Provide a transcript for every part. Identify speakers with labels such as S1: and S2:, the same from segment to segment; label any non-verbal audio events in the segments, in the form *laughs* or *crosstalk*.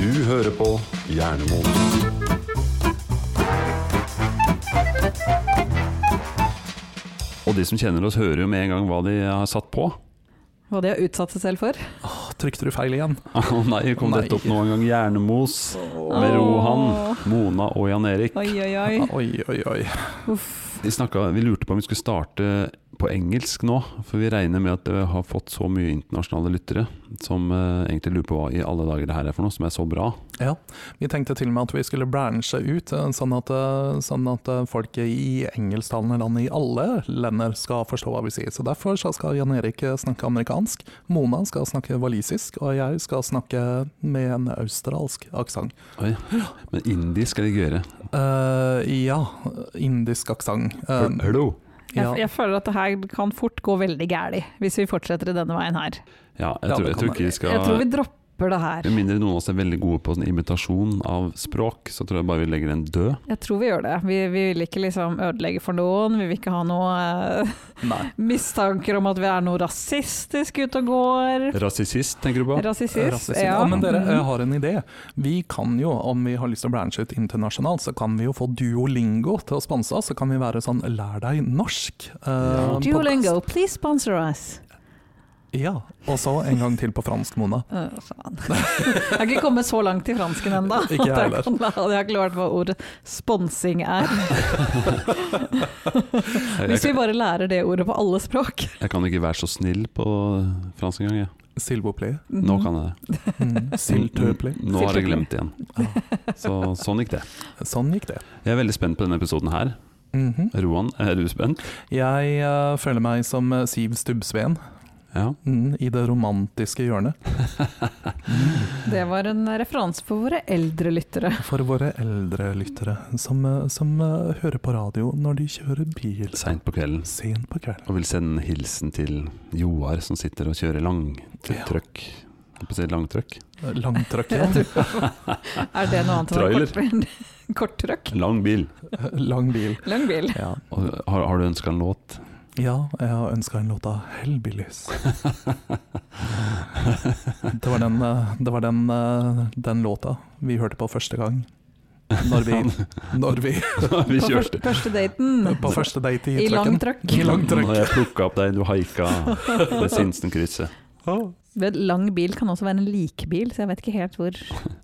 S1: Du hører på Hjernemos.
S2: Og de som kjenner oss, hører jo med en gang hva de har satt på. *laughs*
S3: Hva de har utsatt seg selv for.
S4: Åh, Trykte du feil igjen?
S2: Å nei, kom
S4: Nei.
S2: dette opp nå en gang. Hjernemos med Rohan, Mona og Jan Erik.
S3: Oi, oi, oi.
S4: Oi, oi, oi.
S2: Vi, snakket, vi lurte på om vi skulle starte på engelsk nå, for vi regner med at det har fått så mye internasjonale lyttere som eh, egentlig lurer på hva i alle dager det her er for noe som er så bra.
S4: Ja, Vi tenkte til og med at vi skulle branche ut, eh, sånn at, eh, sånn at eh, folk i engelsktalende land i alle länder skal forstå hva vi sier. Så Derfor så skal Jan Erik eh, snakke amerikansk, Mona skal snakke walisisk, og jeg skal snakke med en australsk aksent.
S2: Oi. Men indisk er det gøyere.
S4: Eh, ja, indisk aksent. Eh,
S2: Hello.
S4: ja.
S3: Jeg, jeg føler at det her kan fort gå veldig gæli, hvis vi fortsetter i denne veien her.
S2: Ja, jeg,
S4: Ja,
S2: tror,
S4: det
S2: jeg
S4: kan
S2: tror ikke vi skal
S3: Jeg tror vi dropper det her.
S2: Med mindre noen av oss er veldig gode på sånn imitasjon av språk, så tror jeg bare vi legger den død.
S3: Jeg tror vi gjør det. Vi, vi vil ikke liksom ødelegge for noen. Vi vil ikke ha noe eh,
S4: Nei.
S3: mistanker om at vi er noe rasistisk ute og går.
S2: Rasist, tenker du på?
S3: Rasistisk,
S4: Rasistisk.
S3: ja.
S4: Ja. Men dere, jeg har en idé. Vi kan jo, om vi har lyst til å branche ut internasjonalt, så kan vi jo få Duolingo til å sponse oss. Så kan vi være sånn lær deg norsk. eh,
S2: Ja.
S4: podcast.
S3: Duolingo, please sponsor us.
S4: Ja. Og så en gang til på fransk, Mona.
S3: Øh, faen. *laughs* jeg har ikke kommet så langt i fransken ennå.
S4: Ikke jeg heller.
S3: Jeg har ikke lært hva ordet sponsing er.
S2: Jeg,
S3: Hvis vi
S2: jeg,
S3: bare lærer det ordet på alle språk.
S2: jeg kan ikke være så snill på fransk engang. jeg.
S4: S'il vous plaît.
S3: Mhm.
S2: Nå kan jeg det.
S4: Mm. S'il te plaît.
S2: Nå har jeg glemt det igjen. Så sånn gikk det.
S4: Sånn gikk det.
S2: Jeg er veldig spent på denne episoden her.
S4: Mhm.
S2: Roan, er du spent?
S4: Jeg eh, føler meg som eh, Siv Stubbsveen
S2: Ja.
S4: mm, i det romantiske hjørnet.
S3: Det var en referanse for våre eldre lyttere.
S4: For våre eldre lyttere som, eh, som eh, hører på radio når de kjører bil
S2: Seint på kvelden.
S4: sent på kvelden.
S2: Og vil sende en hilsen til Joar som sitter og kjører langtrøkk. Holdt på å si langtrøkk.
S4: Eh, Langtrøkk, *laughs* ja.
S3: Jeg tror- *laughs* Er det noe annet
S2: Trailer.
S3: enn *laughs* kort- korttrøkk?
S2: Lang bil.
S4: Eh, *laughs* Lang bil.
S3: Lang bil.
S4: Ja,
S2: Og har, har du ønska en låt? *laughs*
S4: ja jeg har ønska en låt av Hellbillies. Det var, den, eh, det var den, eh, den låta vi hørte på første gang. Når vi, når vi
S2: vi kjørte.
S3: På første, første daten.
S4: På første date i,
S3: I lang
S4: trøkken. I
S3: trøkk.
S4: lang
S2: Nå har jeg plukka opp deg, du haika ved Sinsenkrysset.
S4: Åh.
S3: Ved Lang bil kan også være en likbil, så jeg vet ikke helt hvor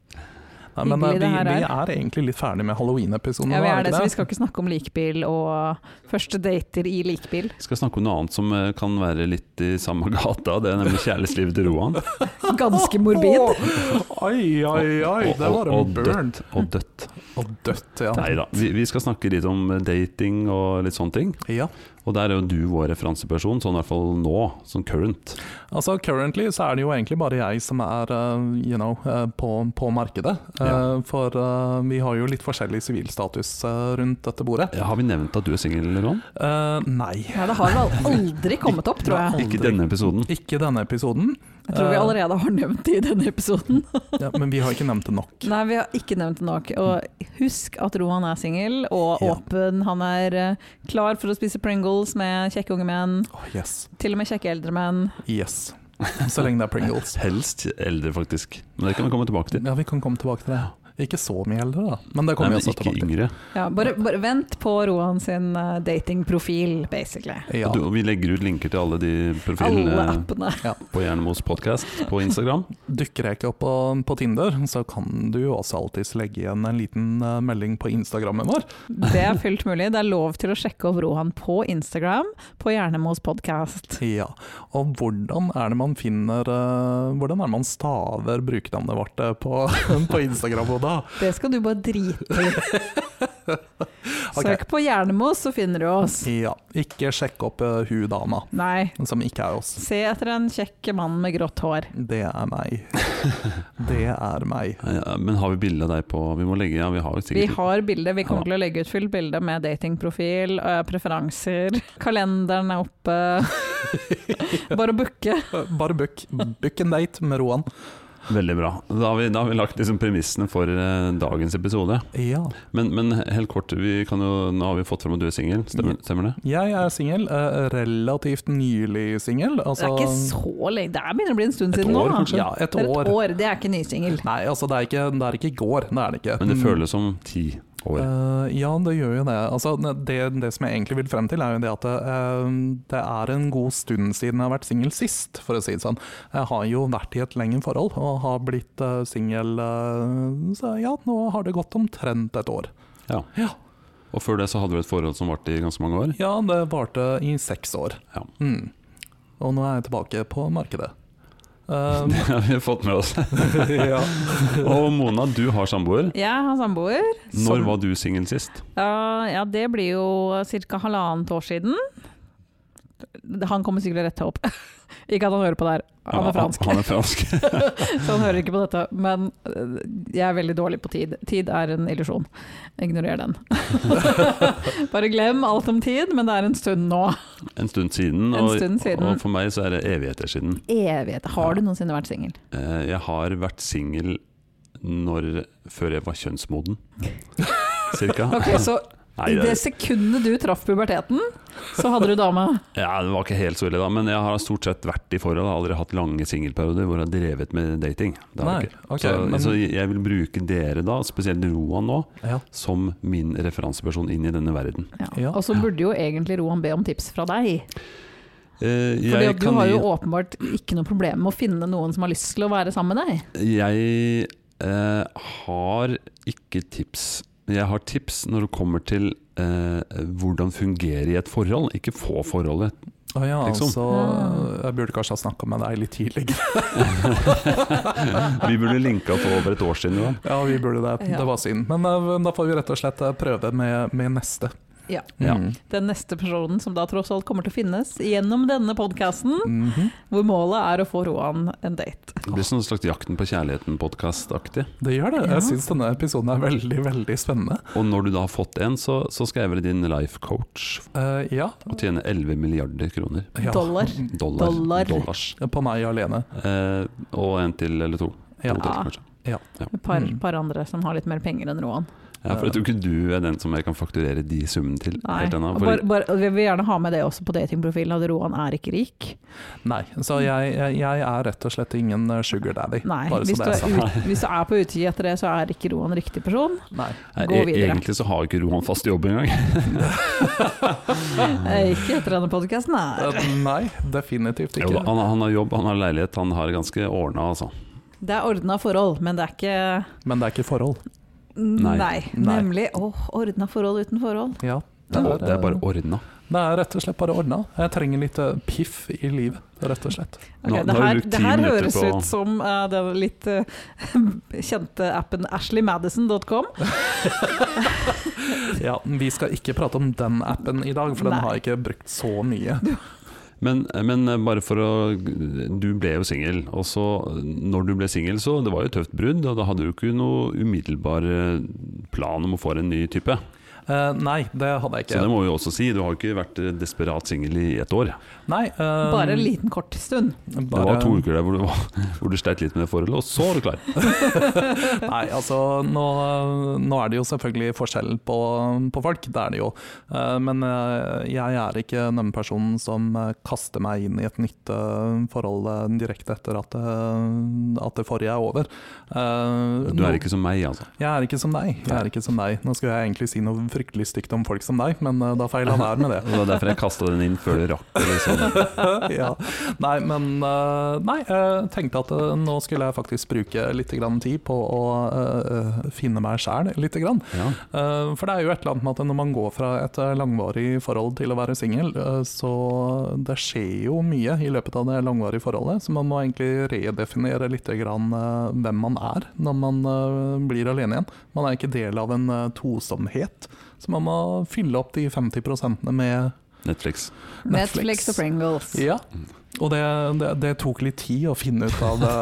S4: Nei, men
S3: Hyggelig
S4: eh,
S3: det
S4: vi,
S3: her
S4: vi
S3: er.
S4: er egentlig litt ferdig med halloween-episoden.
S3: Ja, vi
S4: nå,
S3: er det, så
S4: ikke
S3: vi skal ikke snakke om likbil og første dater i likbil.
S2: Vi skal snakke om noe annet som eh, kan være litt i samme *laughs* gata. Det er nemlig kjærlighetslivet til Roan.
S3: *laughs* Ganske morbid.
S4: Åh, Oi, oi, oi,
S2: Og-
S4: det
S2: og-
S4: var en
S2: og
S4: burn.
S2: dødt, Og dødt.
S4: Og dødt, ja.
S2: Nei da. Vi, vi skal snakke litt om eh, dating og litt sånne ting.
S4: Ja,
S2: Og der er jo du vår referanseperson, sånn i hvert fall nå, sånn current.
S4: altså Currently så er det jo egentlig bare jeg som er eh, you know, eh, på, på markedet. Eh,
S2: Ja.
S4: For eh, vi har jo litt forskjellig sivilstatus eh, rundt dette bordet.
S2: Ja, Har vi nevnt at du er singel, Roan?
S4: Eh, nei.
S3: Ja, det har vel aldri kommet opp, tror jeg.
S2: Ikke i denne episoden.
S4: Ikke denne episoden, Eh,
S3: Jeg tror vi allerede har nevnt det i denne episoden.
S4: ja, men vi har ikke nevnt det nok.
S3: Nei, vi har ikke nevnt det nok. Og husk at Rohan er singel og
S4: Ja.
S3: åpen. Han er eh, klar for å spise Pringles med kjekke unge menn,
S4: Åh, yes.
S3: til og med kjekke eldre menn.
S4: yes. Så lenge det er Pringles.
S2: Helst eldre, faktisk. Men det kan vi komme tilbake til.
S4: Ja, vi kan komme tilbake til det. Ikke så mye eldre, da. Men det
S2: Nei,
S4: kommer
S2: men
S4: vi også
S2: ikke
S4: tilbake til.
S2: yngre.
S3: Ja, bare, bare vent på Rohan sin eh, datingprofil, basically.
S4: Ja.
S2: Og du, og vi legger ut linker til alle de
S3: Alle
S4: eh.
S2: profilene
S3: appene.
S2: på Jernmos podkast på Instagram.
S4: Dukker jeg ikke opp på, på Tinder, så kan du jo også alltids legge igjen en liten eh, melding på Instagrammen vår.
S3: Det er fullt mulig. Det er lov til å sjekke opp Rohan på Instagram, på Hjernemos podkast.
S4: Ja. Og hvordan er det man finner eh, Hvordan er det man staver brukernavnet vårt eh, på, *laughs* på Instagram? Og da?
S3: Det skal du bare drite i.
S4: *laughs* Ok.
S3: Søk på Hjernemos, så finner du oss.
S4: Ja. Ikke sjekk opp uh, hun dama,
S3: Nei,
S4: som ikke er oss.
S3: se etter en kjekk mann med grått hår.
S4: Det er
S3: *laughs*
S4: meg. Det er meg.
S2: Ja, men har vi bilde av deg på Vi må legge ja, vi har jo
S3: Vi
S2: sikkert
S3: har bilde, vi
S2: Ja.
S3: kommer til å legge ut fullt bilde med datingprofil, øh, preferanser, *laughs* kalenderen er
S2: *laughs*
S3: oppe. Bare å booke.
S4: Eh, Bare book. Book and date med Roan.
S2: *laughs* Veldig bra. Da har vi, da har vi lagt liksom premissene for eh, dagens episode.
S4: Ja.
S2: Men, men helt kort, vi kan jo, nå har vi fått fram at du er singel, stemmer, stemmer det?
S4: Jeg er singel. eh, Relativt nylig singel.
S3: Det
S4: Altså,
S3: er ikke så lenge, det er begynner å bli en stund
S2: Et
S3: siden
S2: år,
S3: nå. da.
S2: kanskje?
S4: ja, et
S3: Det er
S4: år.
S3: et år, det er ikke nysingel.
S4: Nei, altså det er ikke, det er ikke i går, det er det ikke. Mm.
S3: Mm.
S2: Men det føles som ti år.
S4: Eh, ja, det gjør jo det. Altså, det. Det som jeg egentlig vil frem til, er jo det at eh, det er en god stund siden jeg har vært singel sist, for å si det sånn. Jeg har jo vært i et lengre forhold og har blitt uh, singel eh, Så ja, nå har det gått omtrent et år.
S2: Ja.
S4: Ja.
S2: Og før det så hadde du et forhold som varte i ganske mange år.
S4: Ja, det varte i seks år.
S2: Ja.
S4: Mm. Og nå er jeg tilbake på markedet.
S3: Um.
S4: Eh,
S2: *laughs* Det har vi fått med
S3: *laughs*
S2: oss.
S4: ja.
S2: Og Mona, du har samboer.
S3: Jeg har samboer.
S2: Når var du singel sist?
S3: Ja, ja, det blir jo ca. halvannet år siden. Han kommer sikkert til å rette opp. *laughs* Ikke at han hører på det her, han er fransk,
S2: Han er fransk. *laughs*
S3: så han Sånn hører ikke på dette. Men øh, jeg er veldig dårlig på tid. Tid er en illusjon. Ignorer den. *laughs* Bare glem alt om tid, men det er en stund nå.
S2: En stund siden.
S3: En
S2: Og,
S3: stund siden.
S2: og for meg så er det evigheter siden.
S3: Evighet. Har du noensinne vært singel?
S2: Eh, Jeg har vært singel når Før jeg var kjønnsmoden. Cirka.
S3: *laughs* Ok, så
S2: Nei,
S3: i
S2: det,
S3: det sekundet du traff puberteten, så hadde du dame?
S2: ja, det var ikke helt så ille da, men jeg har stort sett vært i forhold. Har aldri hatt lange singelperioder hvor jeg har drevet med dating. Det har
S4: Nei,
S2: jeg ikke.
S4: ok.
S2: så,
S4: men,
S2: så jeg vil bruke dere, da, spesielt Roan nå,
S4: ja.
S2: som min referanseperson inn i denne verden.
S3: Ja.
S4: Ja.
S3: Og så burde jo egentlig Roan be om tips fra deg.
S2: Eh,
S3: Fordi
S2: jeg
S3: at du
S2: kan
S3: har jo
S2: gi-
S3: åpenbart ikke noe problem med å finne noen som har lyst til å være sammen med deg.
S2: Jeg eh, har ikke tips. Jeg har tips når det kommer til eh, hvordan fungere i et forhold, ikke få forholdet.
S4: Å ja,
S2: Liksom.
S4: så
S3: Ah.
S4: jeg burde kanskje ha snakka med deg litt tidligere.
S2: Vi burde linka for over et år siden. Johan.
S4: Ja, vi burde det.
S3: Ja.
S4: Det var synd. Men eh, da får vi rett og slett eh, prøve med, med neste.
S3: Ja.
S2: Ja.
S4: Mm.
S3: Den neste personen som da tross alt kommer til å finnes gjennom denne podkasten,
S4: Mhm.
S3: hvor målet er å få Roan en date.
S2: Det blir sånn slags Jakten på kjærligheten-podkast-aktig.
S4: Det gjør det.
S3: Ja.
S4: Jeg syns denne episoden er veldig, veldig spennende.
S2: Og når du da har fått en, så, så skal jeg være din life coach
S4: Eh, ja.
S2: og tjene 11 milliarder kroner.
S4: ja.
S3: Dollar.
S2: Dollar.
S3: Dollar.
S2: Dollars.
S4: På meg alene.
S2: Eh, og en til eller to.
S4: Ja.
S2: to til,
S3: Ja.
S2: kanskje.
S3: Et par,
S4: Mm.
S3: par andre som har litt mer penger enn Roan.
S2: ja, For jeg tror ikke du er den som jeg kan fakturere de summene til.
S3: Nei.
S2: Helt ennå.
S3: Og
S2: For,
S3: bare, bare, og vi vil gjerne ha med det også på datingprofilen, at Roan er ikke rik.
S4: Nei, så jeg, jeg, jeg er rett og slett ingen eh, sugar daddy.
S3: Nei,
S4: bare
S3: hvis
S4: så
S3: du, er
S4: det er sagt.
S3: ut, hvis du er på utkikk etter det, så er ikke Roan riktig person.
S4: Nei.
S2: Nei,
S3: gå
S2: e-
S3: videre.
S2: egentlig så har jo ikke Rohan fast jobb engang.
S3: Eh, Ikke etter denne podkasten, nei.
S4: Eh, Nei, definitivt
S2: Jo, da,
S4: ikke.
S2: han, han har jobb, han har leilighet, han har ganske ordna, altså.
S3: Det er ordna forhold, men det er ikke
S4: Men det er ikke forhold.
S3: Nei.
S4: Nei.
S3: Nemlig. Åh, ordna forhold uten forhold.
S4: Ja.
S2: Det er, det er bare
S4: eh,
S2: ordna.
S4: Det er rett og slett bare ordna. Jeg trenger litt eh, piff i livet, rett og slett.
S3: Ok,
S2: Nå- nå
S3: det
S2: har vi
S3: her,
S2: brukt
S3: det
S2: ti
S3: her
S2: minutter
S3: høres
S2: på-
S3: ut som eh, den litt eh, *laughs* kjente appen ashleymadison.com.
S4: Ja, Vi skal ikke prate om den appen i dag, for den
S3: Nei.
S4: har jeg ikke brukt så mye.
S2: Men, men eh, bare for å Du ble jo singel, og så når du ble singel, så det var jo et tøft brudd, og da hadde du ikke noe umiddelbar eh, plan om å få en ny type.
S4: Eh, nei, det hadde jeg
S2: Så det
S4: ikke.
S2: må vi jo også si, du har jo ikke vært eh, desperat singel i ett år.
S4: Nei, eh,
S3: Bare en liten kort stund.
S2: Det
S4: bare-
S2: var to uker der hvor du, var- *laughs* hvor du sleit litt med det forholdet, og så var du klar.
S4: Nei, altså nå, nå er det jo selvfølgelig forskjell på, på folk, det er det jo. Eh, Men eh, jeg er ikke den personen som eh, kaster meg inn i et nytt eh, forhold eh, direkte etter at, eh, at det forrige er over. Eh,
S2: Du
S4: nå-
S2: er ikke som meg, altså.
S4: Jeg er ikke som deg. Jeg er ikke som deg. Nå skulle jeg egentlig si noe fryktelig stygt om folk som deg, men eh, da feila jeg være med det.
S2: Det var derfor jeg kasta den inn før det rakk. Liksom.
S4: *laughs* ja. Nei, men eh, Nei, jeg tenkte at eh, nå skulle jeg faktisk bruke litt grann tid på å eh, eh, finne meg sjæl litt. Grann.
S2: Ja.
S4: Eh, For det er jo et eller annet med at når man går fra et eh, langvarig forhold til å være singel, eh, så det skjer jo mye i løpet av det langvarige forholdet. Så man må egentlig redefinere litt grann eh, hvem man er når man eh, blir alene igjen. Man er ikke del av en eh, tosomhet, så man må fylle opp de 50 med
S2: Netflix.
S4: Netflix.
S3: Netflix og Pringles.
S4: Ja. Og det, det, det tok litt tid å finne ut av *laughs* det.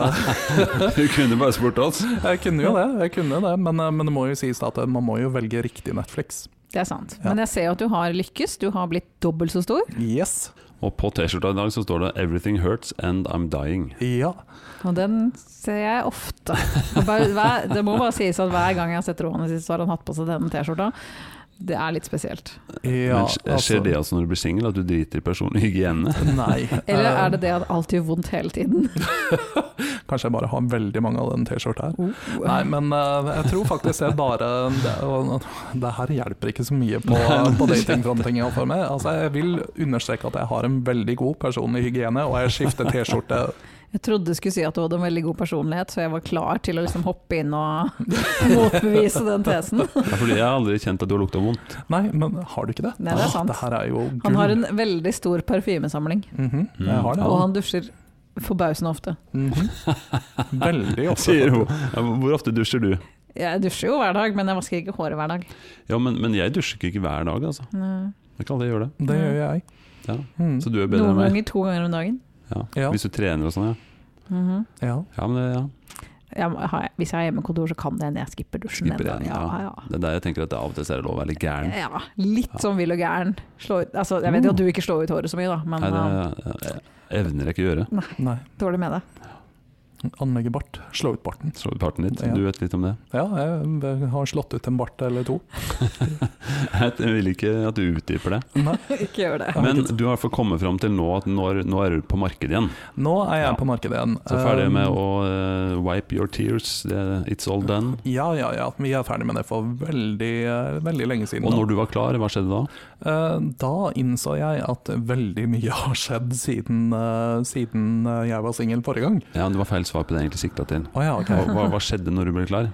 S2: *laughs* Du kunne bare spurt oss.
S4: Jeg kunne jo det, jeg kunne det men, eh, men det må jo sies da at man må jo velge riktig Netflix.
S3: Det er sant.
S4: Ja.
S3: Men jeg ser jo at du har lykkes. Du har blitt dobbelt så stor.
S4: Yes.
S2: Og på T-skjorta i dag så står det 'Everything hurts and I'm dying'.
S4: Ja.
S3: Og den ser jeg ofte. Og bare, hver, det må bare sies at hver gang jeg har sett Roman i sist, så har han hatt på seg denne T-skjorta. Det er litt spesielt.
S4: ja altså.
S2: Men skjer det også når du blir singel, at du driter i personlig hygiene?
S4: *laughs* Nei.
S3: Eller er det det at alt gjør vondt hele tiden?
S4: Eh, Kanskje jeg bare har veldig mange av den T-skjorta her.
S3: Oh.
S4: Nei, men eh, jeg tror faktisk jeg bare det, og det her hjelper ikke så mye på, på datingfronten. i alle fall med. Altså, jeg vil understreke at jeg har en veldig god personlig hygiene, og jeg skifter T-skjorte.
S3: Jeg trodde du skulle si at du hadde en veldig god personlighet, så jeg var klar til å liksom hoppe inn og motbevise den tesen.
S2: Ja, fordi jeg har aldri kjent at du har lukta vondt.
S4: Nei, men har du ikke det?
S3: Nei, det er sant.
S4: Ah, det her er jo gull.
S3: Han har en veldig stor parfymesamling,
S4: Mhm,
S2: Mm.
S4: Jeg har det.
S3: og han dusjer forbausende ofte.
S4: Mhm.
S2: *laughs*
S4: Veldig ofte.
S2: Sier hun. Ja, hvor ofte dusjer du?
S3: Jeg dusjer jo hver dag, men jeg vasker ikke håret hver dag.
S2: Ja, men, men jeg dusjer ikke ikke hver dag, altså. Jeg kan aldri gjøre det.
S4: Det gjør jeg.
S2: Ja.
S4: Mhm.
S2: Så du er bedre enn
S3: Noen
S2: meg.
S3: ganger to ganger om dagen.
S2: Ja.
S4: Ja.
S2: Hvis du trener og sånn, ja.
S3: Mhm.
S4: Ja.
S2: Ja, men det, ja.
S3: jeg, må- har jeg- hvis jeg har hjemmekontor, så kan det hende jeg skipper dusjen.
S2: Skipper
S3: ennå.
S2: den, ja.
S3: ja, ja.
S2: det er der jeg tenker at det av og til så er det lov å være litt gæren.
S3: Ja, litt sånn vill og gæren. Slå ut, altså, jeg vet jo at du ikke slår ut håret så mye, da, men
S2: Nei,
S3: eh,
S2: det jeg evner jeg ikke å gjøre.
S4: Nei.
S3: dårlig med det. *laughs*
S4: Anlegge bart. Slå ut barten.
S2: Slå ut parten ditt.
S4: Ja.
S2: Du vet litt om det. *laughs*
S4: Ja, jeg har slått ut en bart eller to.
S2: Jeg vil ikke at du utdyper det.
S4: Nei.
S3: ikke gjør det.
S2: Men du har i hvert fall kommet fram til nå at nå er, nå er du på markedet igjen.
S4: Nå er jeg
S2: Ja.
S4: på markedet igjen.
S2: Så ferdig med
S4: Um,
S2: å eh, wipe your tears. Det, it's all done.
S4: Ja, ja, ja. Vi er ferdig med det for veldig, eh, veldig lenge siden.
S2: Og
S4: nå.
S2: når du var klar, hva skjedde da?
S4: Eh, Da innså jeg at veldig mye *laughs* har skjedd siden, eh, siden eh, jeg var singel forrige gang.
S2: Ja, Det var feil svar på det jeg egentlig sikta til.
S4: Å ja, ok.
S2: Hva, hva, hva skjedde når du ble klar?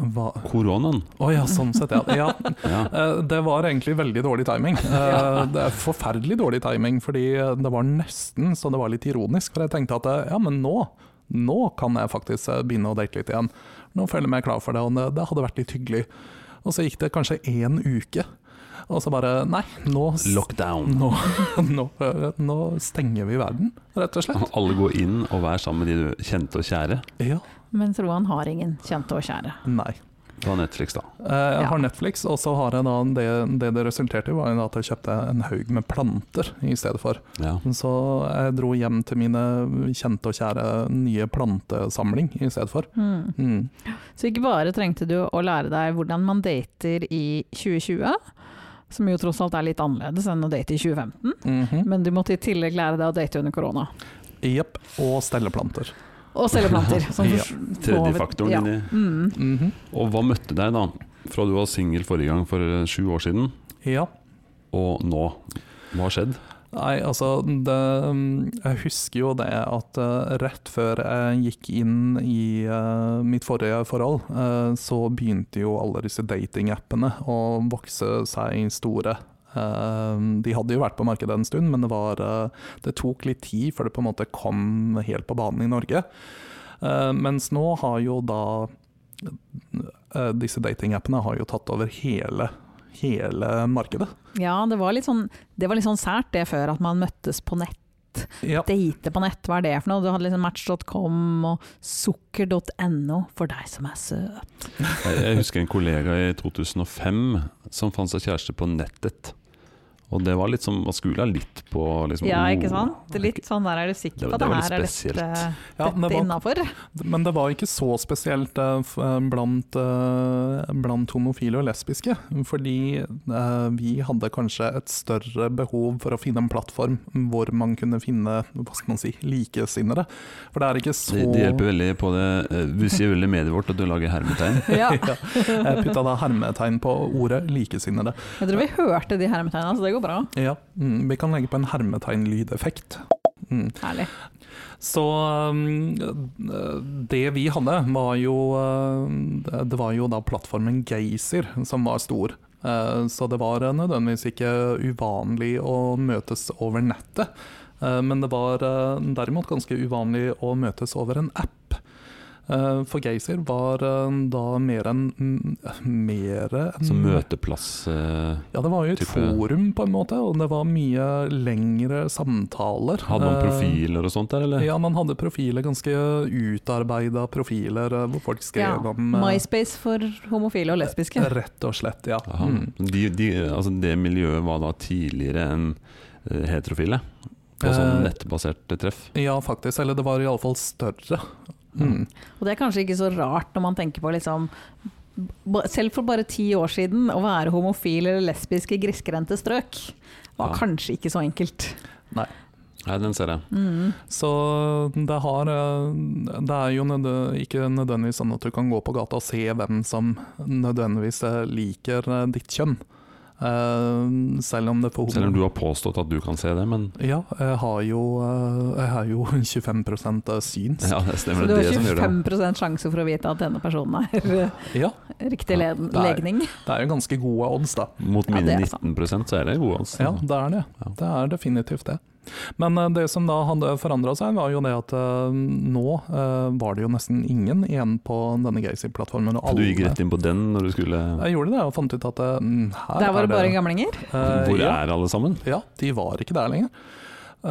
S4: Hva?
S2: Koronaen.
S4: Å ja, sånn sett, ja. ja.
S2: Ja.
S4: eh, Det var egentlig veldig dårlig timing. Eh, Det er Forferdelig dårlig timing, fordi eh, det var nesten så det var litt ironisk. For jeg tenkte at eh, ja, men nå, nå kan jeg faktisk eh, begynne å date litt igjen. Nå føler jeg meg klar for det, og det- det hadde vært litt hyggelig. Og så gikk det kanskje én uke, og så bare nei, nå s-
S2: Lockdown.
S4: Nå, *laughs* nå, eh, nå stenger vi verden, rett og slett.
S2: Alle går inn og vær sammen med de du kjente og kjære.
S4: Ja,
S3: Mens Roan har ingen kjente og kjære.
S4: nei.
S2: Fra Netflix, da.
S4: Eh, Jeg har
S3: Ja.
S4: Netflix, og så har jeg da det det, det resulterte i, var jo da at jeg kjøpte en haug med planter i stedet for.
S2: Ja.
S4: Så jeg dro hjem til mine kjente og kjære nye plantesamling i stedet for.
S3: Mm.
S4: Mm.
S3: Så ikke bare trengte du å lære deg hvordan man dater i 2020, som jo tross alt er litt annerledes enn å date i 2015,
S2: Mm.
S4: Mhm.
S3: men du måtte i tillegg lære deg å date under korona.
S4: Jepp. Og stelleplanter.
S3: Og selge
S2: *laughs*
S3: planter. som
S4: Ja,
S3: for-
S2: Tredje
S3: for-
S2: faktoren
S3: ja.
S2: inni.
S3: Mm.
S4: Mhm.
S2: Og hva møtte deg, da? Fra du var singel forrige gang for eh, sju år siden,
S4: Ja.
S2: og nå. Hva har skjedd?
S4: Nei, altså det, mm, Jeg husker jo det at eh, rett før jeg gikk inn i eh, mitt forrige forhold, eh, så begynte jo alle disse datingappene å vokse seg store. Eh, de hadde jo vært på markedet en stund, men det, var, eh, det tok litt tid før det på en måte kom helt på banen i Norge. Eh, mens nå har jo da eh, disse datingappene har jo tatt over hele, hele markedet.
S3: ja, det var, litt sånn, det var litt sånn sært det før, at man møttes på nett.
S4: Ja.
S3: Date på nett, hva er det for noe? Du hadde liksom match.com og sukker.no for deg som er søt.
S2: Jeg jeg husker en kollega i 2005 som fant seg kjæreste på nettet. Og det var litt som, man skula litt på liksom,
S3: Ja,
S2: oh,
S3: ikke sant? Litt sånn der er du sikker
S2: Det var- det
S3: på at det
S2: var
S3: her er
S2: litt
S3: dette,
S4: Ja, men det
S3: dette
S4: var-
S2: *laughs*
S3: innafor?
S4: Men det var ikke så spesielt eh, f- eh, blant, eh, blant homofile og lesbiske. Fordi eh, vi hadde kanskje et større behov for å finne en plattform hvor man kunne finne hva skal man si, likesinnede. For det er ikke så
S2: Det, det hjelper veldig på det eh, visuelle mediet vårt at du lager hermetegn.
S3: Ja.
S4: *laughs* Ja, Jeg putta da hermetegn på ordet 'likesinnede'.
S3: Jeg tror vi hørte de hermetegnene, så det går bra.
S4: Ja, mm, Vi kan legge på en hermetegnlydeffekt. Mm.
S3: Herlig.
S4: Så um, øh, det vi hadde, var jo øh, Det var jo da plattformen Geysir som var stor. Eh, Så det var eh, nødvendigvis ikke uvanlig å møtes over nettet. Eh, Men det var eh, derimot ganske uvanlig å møtes over en app. Eh, For Geysir var eh, da mer enn Mer enn
S2: Så
S3: Mm.
S2: møteplass eh,
S4: Ja, det var jo et
S2: type-
S4: forum, på en måte, og det var mye lengre samtaler.
S2: Hadde man
S4: Eh,
S2: profiler og sånt der, eller?
S4: ja, man hadde profiler, ganske utarbeida profiler, eh, hvor folk
S3: Ja.
S4: skrev om eh,
S3: MySpace for homofile og lesbiske.
S4: Rett og slett, ja.
S2: Aha.
S4: Mm.
S2: De, de, altså det miljøet var da tidligere enn eh, heterofile? på sånn
S4: Eh,
S2: nettbaserte treff.
S4: Ja, faktisk. Eller det var iallfall større. Mm.
S3: Og det er kanskje ikke så rart når man tenker på liksom ba- selv for bare ti år siden, å være homofil eller lesbisk i grisgrendte strøk var
S2: Ja.
S3: kanskje ikke så enkelt.
S2: Nei, den ser jeg.
S3: Mm.
S4: Så det har eh, Det er jo nødv ikke nødvendigvis sånn at du kan gå på gata og se hvem som nødvendigvis eh, liker eh, ditt kjønn. Eh, selv om det for
S2: Selv om du har påstått at du kan se det, men
S4: Ja, jeg har jo, eh, jeg har jo *laughs* 25 syns.
S2: ja, det stemmer.
S3: Så du
S2: Det
S3: har
S2: er det som gjør det.
S3: 25 sjanse for å vite at denne personen er eh,
S4: Ja,
S3: riktig
S2: Ja,
S3: leden-
S4: det er-
S3: legning.
S4: det er jo ganske gode odds, da.
S2: Mot
S3: Ja,
S2: mine
S3: det er
S2: 19 så er det gode altså. odds.
S4: Ja, det er det.
S2: Mm. Ja.
S4: Det er definitivt det. Men eh, det som da hadde forandra seg, var jo det at eh, nå eh, var det jo nesten ingen igjen på denne Gacy-plattformen. og
S2: For du gikk
S4: alle-
S2: rett inn på den når du skulle
S4: Jeg gjorde det og fant ut at eh, mm, her
S3: Der var
S4: er
S3: det bare gamlinger.
S4: Eh,
S2: Hvor
S4: ja,
S2: er alle sammen?
S4: ja, de var ikke der lenger. Eh,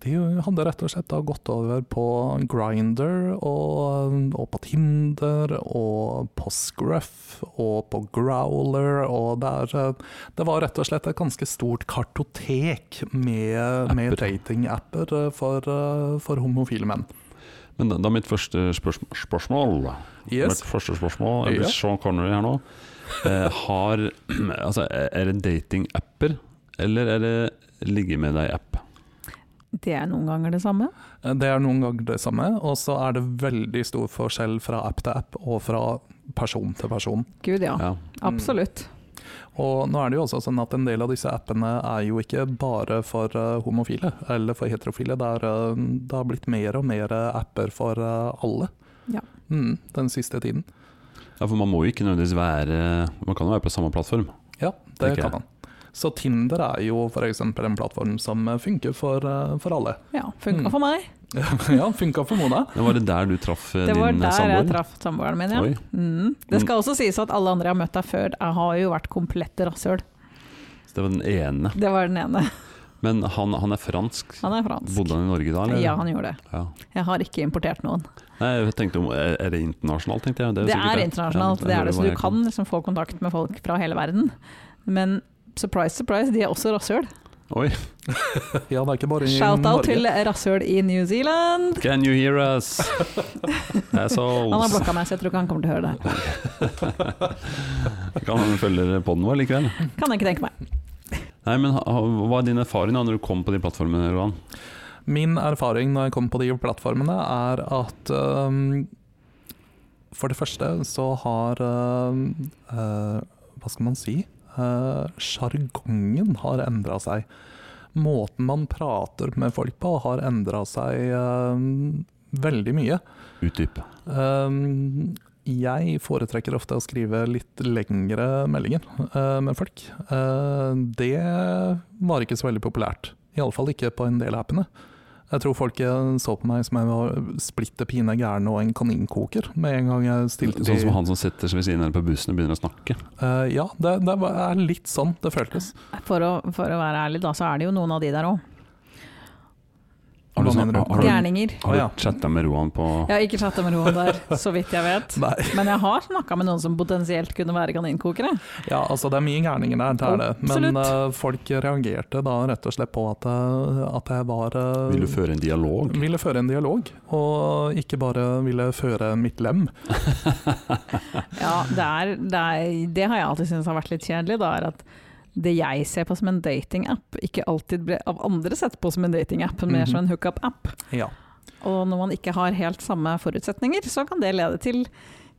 S4: de hadde rett og slett da gått over på Grinder og, og på Tinder og på Scruff og på Growler og der eh, Det var rett og slett et ganske stort kartotek med, med
S2: Apper.
S4: datingapper eh, for, eh, for homofile menn.
S2: Men da, da mitt første spørsm spørsmål Mitt
S4: Yes.
S2: første spørsmål Jeg blir
S4: Ja.
S2: Sean Connery her nå. Eh, har *clears throat* Altså, er det dating-apper, eller er det ligge med deg-app?
S3: Det er noen ganger det samme.
S4: Eh, Det er noen ganger det samme, og så er det veldig stor forskjell fra app til app og fra person til person.
S3: Gud ja,
S2: Ja.
S3: absolutt.
S4: Og nå er det jo også sånn at en del av disse appene er jo ikke bare for eh, homofile eller for heterofile. Det, er, eh, det har blitt mer og mer eh, apper for eh, alle
S3: Ja.
S4: mm, den siste tiden.
S2: ja, for man må jo ikke nødvendigvis være Man kan jo være på samme plattform.
S4: Ja, det
S2: Tenker jeg.
S4: kan man. Så Tinder er jo f.eks. en plattform som eh, funker for, eh, for alle. *laughs*
S3: Ja, Funka
S4: Mm.
S3: for meg.
S4: ja, funka for Mona.
S2: Men var det der du traff eh,
S3: *laughs* Det var
S2: din eh,
S3: der jeg
S2: samboer?
S3: traff samboeren min, ja.
S2: Oi.
S3: Mm. Det skal også sies at alle andre jeg har møtt her før, jeg har jo vært komplette rasshøl.
S2: Så det var den ene.
S3: Det var den ene.
S2: Men han, han er fransk.
S3: Han er fransk.
S2: Bodde han i Norge da, eller?
S3: Ja, han gjorde det.
S2: Ja.
S3: Jeg har ikke importert noen.
S2: Nei, jeg tenkte om, er er det internasjonalt, tenkte jeg. jo
S3: Det er,
S2: sikkert Ja,
S3: internasjonalt, det
S2: jeg
S3: er det,
S2: hører
S3: så
S2: hva
S3: du
S2: jeg
S3: kan liksom få kontakt med folk fra hele verden. Men surprise, surprise, de er også rasshøl.
S2: Oi,
S4: Ja, det er ikke bare i
S3: Shout-out
S4: Norge.
S3: til rasshøl i New Zealand!
S2: can you hear us?
S3: *laughs*
S2: Assholes.
S3: Han har blokka meg, så jeg tror ikke han kommer til å høre det.
S2: Kan han følge podden vår likevel?
S3: Kan jeg ikke tenke meg.
S2: Nei, men ha- ha- Hva er din erfaring da når du kom på de plattformene? Roan?
S4: Min erfaring når jeg kom på de plattformene, er at øhm, For det første så har øhm, øh, Hva skal man si? Øh, Sjargongen har endra seg. Måten man prater med folk på, har endra seg øhm, veldig mye.
S2: Utdyp.
S4: Øhm, Ehm, jeg foretrekker ofte å skrive litt lengre meldinger øh, med folk. Eh, det var ikke så veldig populært. Iallfall ikke på en del appene. Jeg tror folk eh, så på meg som jeg var splitter pine gæren og en kaninkoker med en gang jeg stilte
S2: Sånn som han som setter seg ved siden av deg på bussen og begynner å snakke.
S4: Eh, ja, det, det var- er litt sånn det
S2: *laughs*
S4: føltes.
S3: For å, for å være ærlig, da, så er det jo noen av de der òg.
S2: Har du,
S4: Hva
S2: snak-
S4: mener du?
S2: har du,
S3: Gærninger.
S2: har
S4: Ja.
S2: du chatta med Roan på
S3: Jeg har ikke chatta med noen der, så vidt jeg vet.
S4: Nei.
S3: Men jeg har snakka med noen som potensielt kunne være kaninkokere.
S4: Ja, altså det er mye gærninger der, det er det. Men
S3: Absolutt.
S4: eh, folk reagerte da rett og slett på at, eh, at jeg var eh,
S2: Vil du føre en dialog?
S4: ville føre en dialog, og ikke bare ville føre mitt lem.
S3: Ja, det, er, det, er, det har jeg alltid syntes har vært litt kjedelig, da, er at det jeg ser på som en datingapp, ikke alltid ble av andre sett på som en datingapp, men mer
S2: Mhm.
S3: som en hookup-app.
S4: Ja.
S3: Og når man ikke har helt samme forutsetninger, så kan det lede til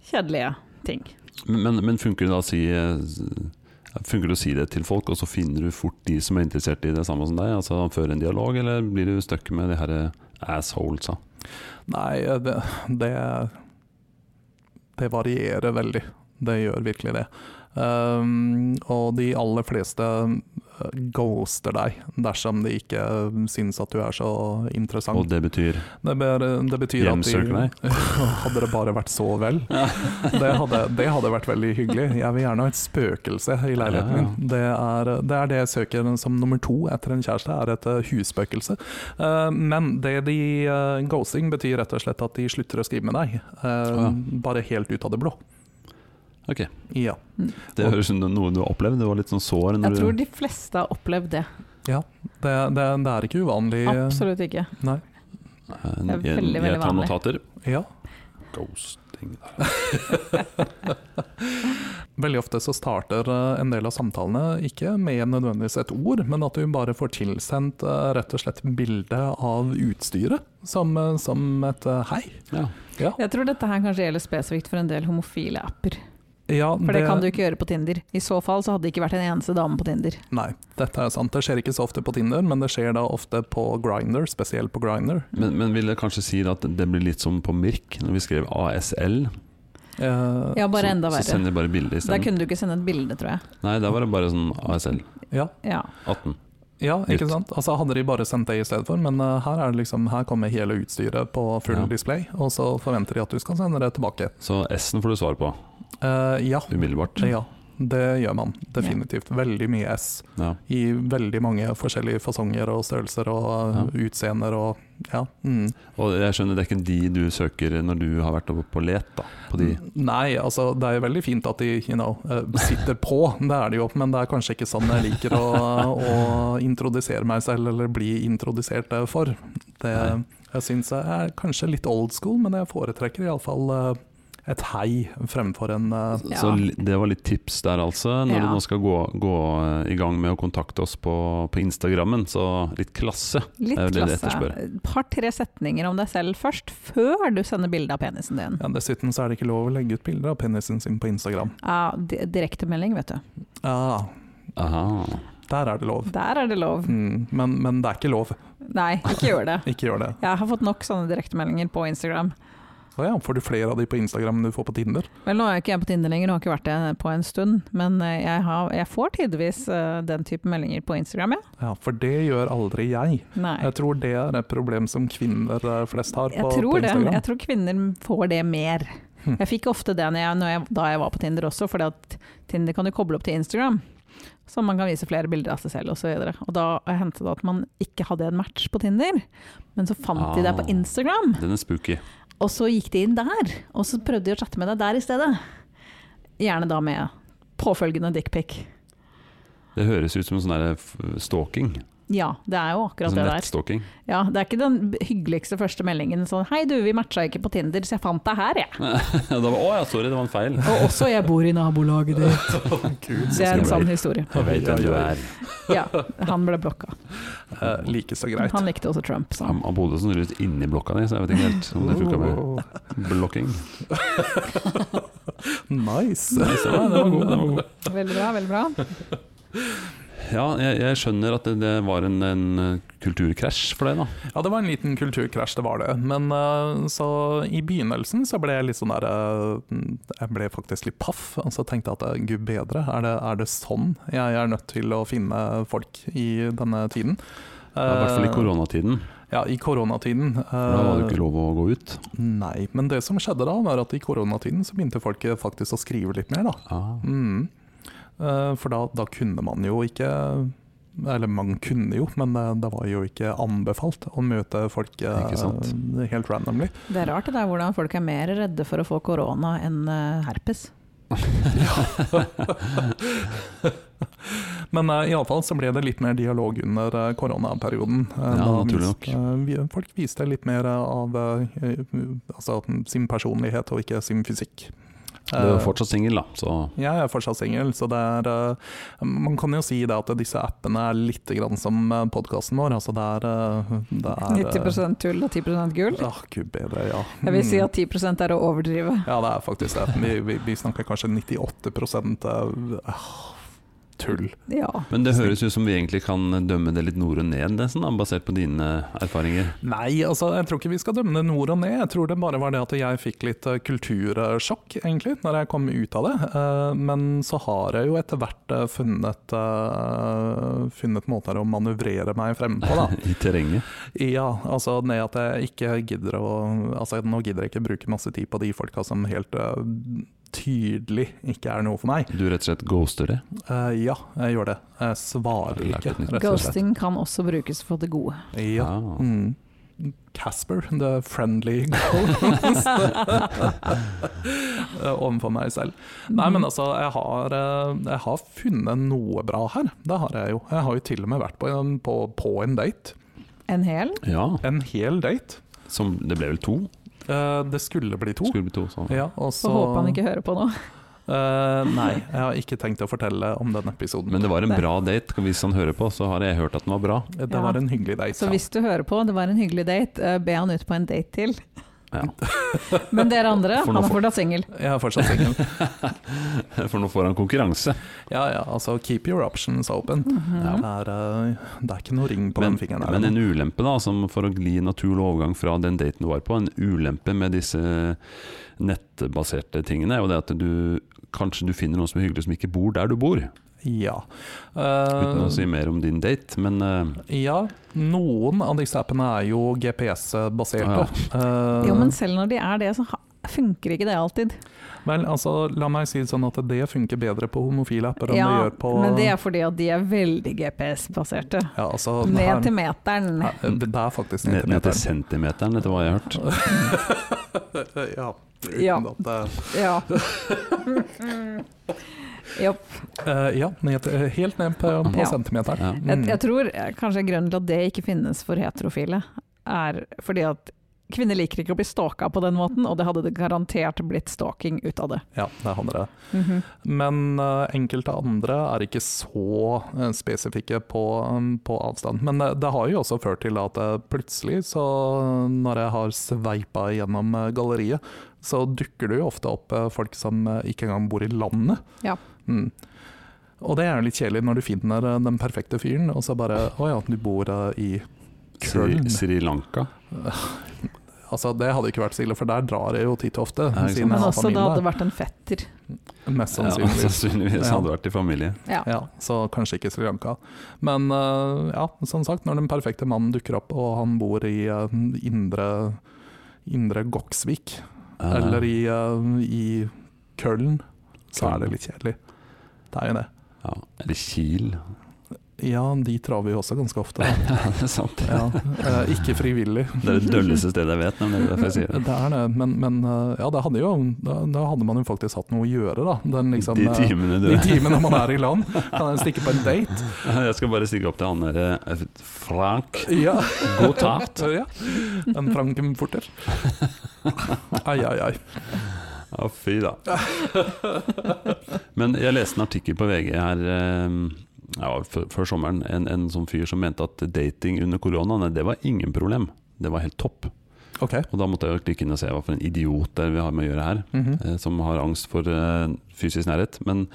S3: kjedelige ting.
S2: Men, men funker det da å si eh, Funker det å si det til folk, og så finner du fort de som er interessert i det samme som deg? Altså Føre en dialog, eller blir du stuck med de her assholesa?
S4: Nei, det, det Det varierer veldig. Det gjør virkelig det. Ehm, og de aller fleste eh, ghoster deg dersom de ikke eh, syns at du er så
S2: Og
S4: interessant.
S2: det betyr
S4: Det, ber, det betyr at de
S2: Hjemsøker deg?
S4: *laughs* Hadde det bare vært så vel. Det hadde, det hadde vært veldig hyggelig. Jeg vil gjerne ha et spøkelse i leiligheten
S2: Ja, ja.
S4: min. Det er, det er det jeg søker som nummer to etter en kjæreste, er et eh, husspøkelse. Eh, Men det de eh, ghosting betyr rett og slett at de slutter å skrive med deg. eh,
S2: Ja.
S4: Bare helt ut av det blå.
S2: Ok.
S4: Ja.
S2: Det høres ut som noe du har opplevd? Det var litt sånn sår? Når
S3: Jeg tror
S2: du,
S3: de fleste har opplevd det.
S4: Det, det, det er ikke uvanlig.
S3: Absolutt ikke.
S4: Nei.
S2: Eh,
S3: Det er veldig,
S2: jeg-
S3: veldig
S2: Jeg tar
S3: vanlig.
S2: notater.
S4: Ja.
S2: Ghosting.
S4: Veldig ofte så starter eh, en del av samtalene ikke med nødvendigvis et ord, men at du bare får tilsendt eh, rett og slett bilde av utstyret som, eh, som et eh, hei.
S2: Ja.
S4: Ja,
S3: Jeg tror dette her kanskje gjelder spesifikt for en del homofile apper.
S4: ja
S3: For det, kan du ikke gjøre på Tinder. I så fall så hadde det ikke vært en eneste dame på Tinder.
S4: Nei, dette er sant. Det skjer ikke så ofte på Tinder, men det skjer da ofte på Grinder, spesielt på Grinder.
S2: Men, men vil jeg kanskje si da at det blir litt som på Mirk, når vi skrev ASL.
S4: Eh,
S3: Ja, bare
S2: så,
S3: enda
S2: Så
S3: verre.
S2: sender de bare bilde
S3: Der
S2: isteden.
S3: kunne du ikke sende et bilde, tror jeg.
S2: Nei, der var det bare sånn ASL.
S4: ja,
S3: Ja.
S2: 18.
S4: ja, ikke
S2: Nytt.
S4: sant. Altså Hadde de bare sendt det i stedet for, men eh, her, er det liksom, her kommer hele utstyret på full
S2: Ja.
S4: display, og så forventer de at du skal sende det tilbake.
S2: Så S-en får du svar på
S4: Eh, ja,
S3: Mm.
S2: umiddelbart.
S4: ja, det gjør man definitivt. Veldig mye S.
S2: Ja.
S4: i veldig mange forskjellige fasonger og størrelser og eh, utseender og ja. Mm.
S2: Og jeg skjønner det er ikke de du søker når du har vært oppe på let, da. På de.
S4: Nei, altså det er jo veldig fint at de you know, eh, sitter på, det er det jo, men det er kanskje ikke sånn jeg liker å, å introdusere meg selv eller bli introdusert eh, for. Det,
S2: Nei.
S4: jeg syns jeg er kanskje litt old school, men jeg foretrekker iallfall eh, et hei fremfor en eh,
S3: Ja.
S2: Så li- det var litt tips der, altså. Når
S3: Ja.
S2: du nå skal gå, gå eh, i gang med å kontakte oss på, på Instagrammen, så litt klasse. Det
S3: Litt
S2: er jo det de
S3: klasse. Et par-tre setninger om deg selv først, før du sender bilde av penisen din.
S4: ja, Dessuten så er det ikke lov å legge ut bilder av penisen sin på Instagram.
S3: Ja, di- Direktemelding, vet du.
S4: Ah,
S2: Aha.
S4: der er det lov.
S3: Der er det lov.
S4: Mm, men, men det er ikke lov.
S3: Nei, ikke gjør det.
S4: Ikke gjør det.
S3: Jeg har fått nok sånne direktemeldinger på Instagram.
S4: Å ja, får du flere av de på Instagram enn du får på Tinder?
S3: Vel, nå er jeg ikke jeg på Tinder lenger, og har ikke vært det på en stund. Men eh, jeg, har, jeg får tidvis eh, den type meldinger på Instagram, ja.
S4: Ja, For det gjør aldri jeg.
S3: Nei.
S4: Jeg tror det er et problem som kvinner eh, flest har på,
S3: Jeg tror
S4: på
S3: det.
S4: Instagram.
S2: *laughs*
S3: Jeg tror kvinner får det mer.
S4: Hm.
S3: Jeg fikk ofte det når jeg, når jeg, da jeg var på Tinder også, fordi at Tinder kan du koble opp til Instagram. Så man kan vise flere bilder av seg selv osv. Og da hendte det at man ikke hadde en match på Tinder, men så fant de deg på
S2: Ah.
S3: Instagram.
S2: Den er spooky.
S3: Og så gikk de inn der, og så prøvde de å chatte med deg der i stedet. Gjerne da med påfølgende dickpic.
S2: Det høres ut som en sånn der f- stalking.
S3: Ja, det er jo akkurat
S2: Som
S3: det der.
S2: nettstalking. *laughs*
S3: Ja, det er ikke den hyggeligste første meldingen sånn 'Hei du, vi matcha ikke på Tinder, så jeg fant deg her, jeg'.
S2: da var, å ja, sorry, det var en feil.
S3: Og også 'jeg bor i nabolaget ditt'. Det er en sann historie.
S2: Jeg vet hvem du er.
S3: Ja, han ble blokka.
S4: *laughs* Eh, like så greit.
S3: Han likte også Trump, så.
S2: Han han bodde sånn rundt inni blokka di, så jeg vet ikke helt om det funka med
S4: Oh,
S2: blokking.
S4: nice!
S2: Nei, så, nei, det var god, det var god.
S3: Veldig bra, veldig bra.
S2: Ja, jeg, jeg skjønner at det, det var en, en eh, kulturkrasj for deg, da.
S4: *laughs* Ja, det var en liten kulturkrasj, det var det. Men eh, så i begynnelsen så ble jeg litt sånn der eh, Jeg ble faktisk litt paff. Og så tenkte jeg at eh, gud bedre, er det, er det sånn jeg er nødt til å finne folk i denne tiden? Eh,
S2: Ja, I hvert fall i koronatiden.
S4: Ja, i koronatiden.
S2: For da var det jo ikke lov å gå ut.
S4: Nei, men det som skjedde da, var at i koronatiden så begynte folk faktisk å skrive litt mer, da.
S2: Ah.
S4: Mm. Eh, For da, da kunne man jo ikke Eller man kunne jo, men eh, det var jo ikke anbefalt å møte folk eh,
S2: Ikke sant.
S4: helt randomly.
S3: Det er rart det der hvordan folk er mer redde for å få korona enn eh, herpes.
S4: Men eh, iallfall så ble det litt mer dialog under eh, koronaperioden. Eh,
S2: Ja,
S4: da
S2: naturlig
S4: viste- eh, vi- Folk viste litt mer eh, av eh, altså, sin personlighet og ikke sin fysikk.
S2: Du er
S4: Eh,
S2: jo fortsatt singel, da, så
S4: Jeg er fortsatt singel, så det er eh, Man kan jo si det at disse appene er litt grann som podkasten vår. Altså det er, eh, det er eh,
S3: 90 tull og 10 gull.
S4: Ja, gud bedre, ja.
S3: Jeg vil si
S4: Mm.
S3: at 10 er å overdrive.
S4: Ja, det er faktisk det. Vi, vi, vi snakker kanskje 98 eh, ah, tull.
S3: Ja.
S2: Men det høres ut som vi egentlig kan dømme det litt nord og ned, nesten, da, basert på dine erfaringer.
S4: Nei, altså, jeg tror ikke vi skal dømme det nord og ned. Jeg tror det bare var det at jeg fikk litt eh, kultursjokk, egentlig, når jeg kom ut av det. Eh, Men så har jeg jo etter hvert eh, funnet, eh, funnet måter å manøvrere meg frem på, da.
S2: *laughs* I terrenget.
S4: Ja, altså det at jeg ikke gidder å Altså nå gidder jeg ikke bruke masse tid på de folka som helt øh, tydelig ikke er noe for meg.
S2: Du rett og slett ghoster det.
S4: Eh, ja, jeg gjør det. Jeg
S2: Har
S4: svarer
S2: du lært
S4: ikke,
S2: et nytt
S4: rett og slett.
S3: Ghosting kan også brukes for det gode.
S4: Ja.
S2: Ah.
S4: Mm. Casper, the friendly
S2: *laughs*
S4: ghost, eh, overfor meg selv. *laughs* Nei, men altså, jeg har, eh, jeg har funnet noe bra her. Det har jeg jo. Jeg har jo til og med vært på en, på, på en date.
S3: En hel?
S2: Ja,
S4: En hel date.
S2: som Det ble vel to?
S4: Eh, det skulle bli to.
S2: Skulle bli to sånn.
S4: Ja, og
S3: Så
S4: så
S3: håper han ikke hører på nå.
S4: Eh, nei, jeg har ikke tenkt å fortelle om den episoden.
S2: Men det var en
S3: Nei.
S2: bra date. Hvis han hører på, så har jeg hørt at den var
S4: *laughs*
S2: bra.
S4: det
S3: Ja.
S4: var en hyggelig date.
S3: Så hvis du hører på, det var en hyggelig date, eh, be han ut på en date til.
S2: Ja.
S3: *laughs* Men dere andre,
S2: For nå
S3: han er
S2: får-
S3: fortsatt singel.
S4: Jeg er fortsatt singel.
S2: For nå får han konkurranse.
S4: Ja ja, altså keep your options open.
S2: Ja.
S4: Det, er, eh, det er ikke noe ring på
S2: Men,
S4: den fingeren.
S2: men en ulempe, da, som for å gli naturlig overgang fra den daten du var på, en ulempe med disse nettbaserte tingene, er jo det at du kanskje du finner noen som er hyggelig som ikke bor der du bor.
S4: Ja.
S2: Uten
S4: Eh,
S2: å si mer om din date, men eh,
S4: ja, noen av disse appene er jo GPS-baserte. Eh,
S3: Jo, men selv når de er det, så ha- funker ikke det alltid.
S4: Vel, altså, la meg si det sånn at det funker bedre på homofile apper enn det
S3: Ja,
S4: gjør på
S3: men det er fordi at de er veldig GPS-baserte.
S4: ja, altså,
S3: Ned til
S4: her-
S3: meteren.
S4: Ja, Det er faktisk
S2: ned,
S4: ned til
S2: ned til
S4: meteren.
S2: centimeteren, etter hva jeg har hørt.
S4: Eh, ja.
S3: Ja.
S4: Uten at det *laughs*
S3: Ja. Jopp.
S4: Eh, ja, ned, eh, helt ned på, på
S3: Ja.
S4: centimeteren.
S2: Ja.
S3: Jeg,
S4: Mm.
S3: jeg tror eh, kanskje grunnen til at det ikke finnes for heterofile, er fordi at kvinner liker ikke å bli stalka på den måten, og det hadde det garantert blitt stalking ut av det.
S4: Ja, det handler det. Men eh, enkelte andre er ikke så eh, spesifikke på, um, på avstand. Men det, det har jo også ført til at eh, plutselig, så når jeg har sveipa gjennom eh, galleriet, så dukker det jo ofte opp eh, folk som eh, ikke engang bor i landet.
S3: Ja.
S4: Mm. Og det er jo litt kjedelig når du finner eh, den perfekte fyren, og så bare Å ja, du bor eh, i
S2: Sri,
S4: Køln.
S2: Sri Lanka.
S4: Altså, det hadde ikke vært så ille, for der drar jeg jo titt og
S2: Ja,
S4: ofte.
S2: ikke sant.
S4: siden jeg
S3: Men
S4: har
S3: også da
S4: familie.
S3: hadde det vært en fetter.
S4: Mest
S2: Ja,
S4: sannsynligvis.
S2: sannsynligvis
S4: Sånn Ja.
S2: hadde vært i familie.
S3: Ja.
S4: Ja, så kanskje ikke Sri Lanka. Men eh, ja, som sagt, når den perfekte mannen dukker opp, og han bor i eh, indre, indre Goksvik,
S2: Ja.
S4: eller i, eh, i Køln, så er det litt kjedelig. Det er jo det.
S2: Ja. Eller
S4: *laughs*
S2: Kiel.
S4: Ja, de traver jo også ganske
S2: *laughs*
S4: ofte. da.
S2: Ja, det er sant.
S4: Ja, eh, ikke frivillig.
S2: Det er det dølleste stedet jeg vet, nemlig. Det er derfor jeg sier det.
S4: Det er det, men, men eh, ja, det hadde jo, da, da hadde man jo faktisk hatt noe å gjøre, da. Den, liksom,
S2: de
S4: eh,
S2: timene du
S4: de timene man er i land. Kan jeg stikke på en date?
S2: *laughs* Jeg skal bare stikke opp til han derre Frank.
S4: Ja.
S2: God
S4: *laughs*
S2: tapt.
S4: Ja. En Frankenfurter. Ai, ai, ai.
S2: Ja, fy da. Men jeg leste en artikkel på VG her eh, ja, før før sommeren. En, en sånn fyr som mente at dating under korona, nei, det var ingen problem. Det var helt topp.
S4: Ok.
S2: Og da måtte jeg jo klikke inn og se hva for en idiot det er vi har med å gjøre her.
S4: Mhm.
S2: eh, som har angst for eh, fysisk nærhet. Men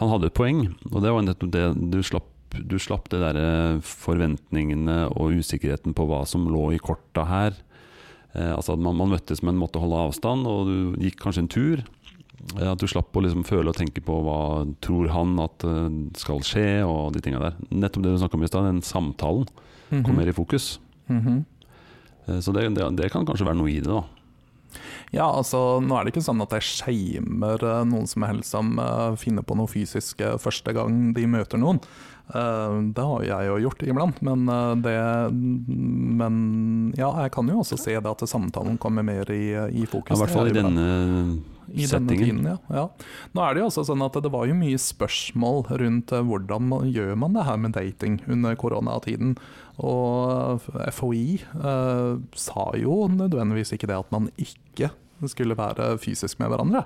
S2: han hadde et poeng, og det var nettopp det du slapp. Du slapp det der eh, forventningene og usikkerheten på hva som lå i korta her. Eh, altså at man, man møttes, men måtte holde avstand, og du gikk kanskje en tur. Eh, at du slapp å liksom føle og tenke på hva tror han at eh, skal skje, og de tinga der. Nettopp det du snakka om i stad, den samtalen
S4: Mhm.
S2: kom mer i fokus.
S4: Mhm.
S2: Eh, så det, det, det kan kanskje være noe i det, da.
S4: Ja, altså, nå er det ikke sånn at jeg shamer eh, noen som helst som eh, finner på noe fysisk eh, første gang de møter noen. Eh, det har jeg jo gjort iblant, men eh, det Men ja, jeg kan jo også se det at samtalen kommer mer i, eh, i fokus.
S2: Ja, I hvert fall i
S4: Det er jo bra.
S2: denne
S4: I denne
S2: settingen.
S4: tiden, ja. ja. Nå er det jo også sånn at det var jo mye spørsmål rundt eh, hvordan man, gjør man det her med dating under koronatiden. Og FHI eh, sa jo nødvendigvis ikke det at man ikke skulle være fysisk med hverandre.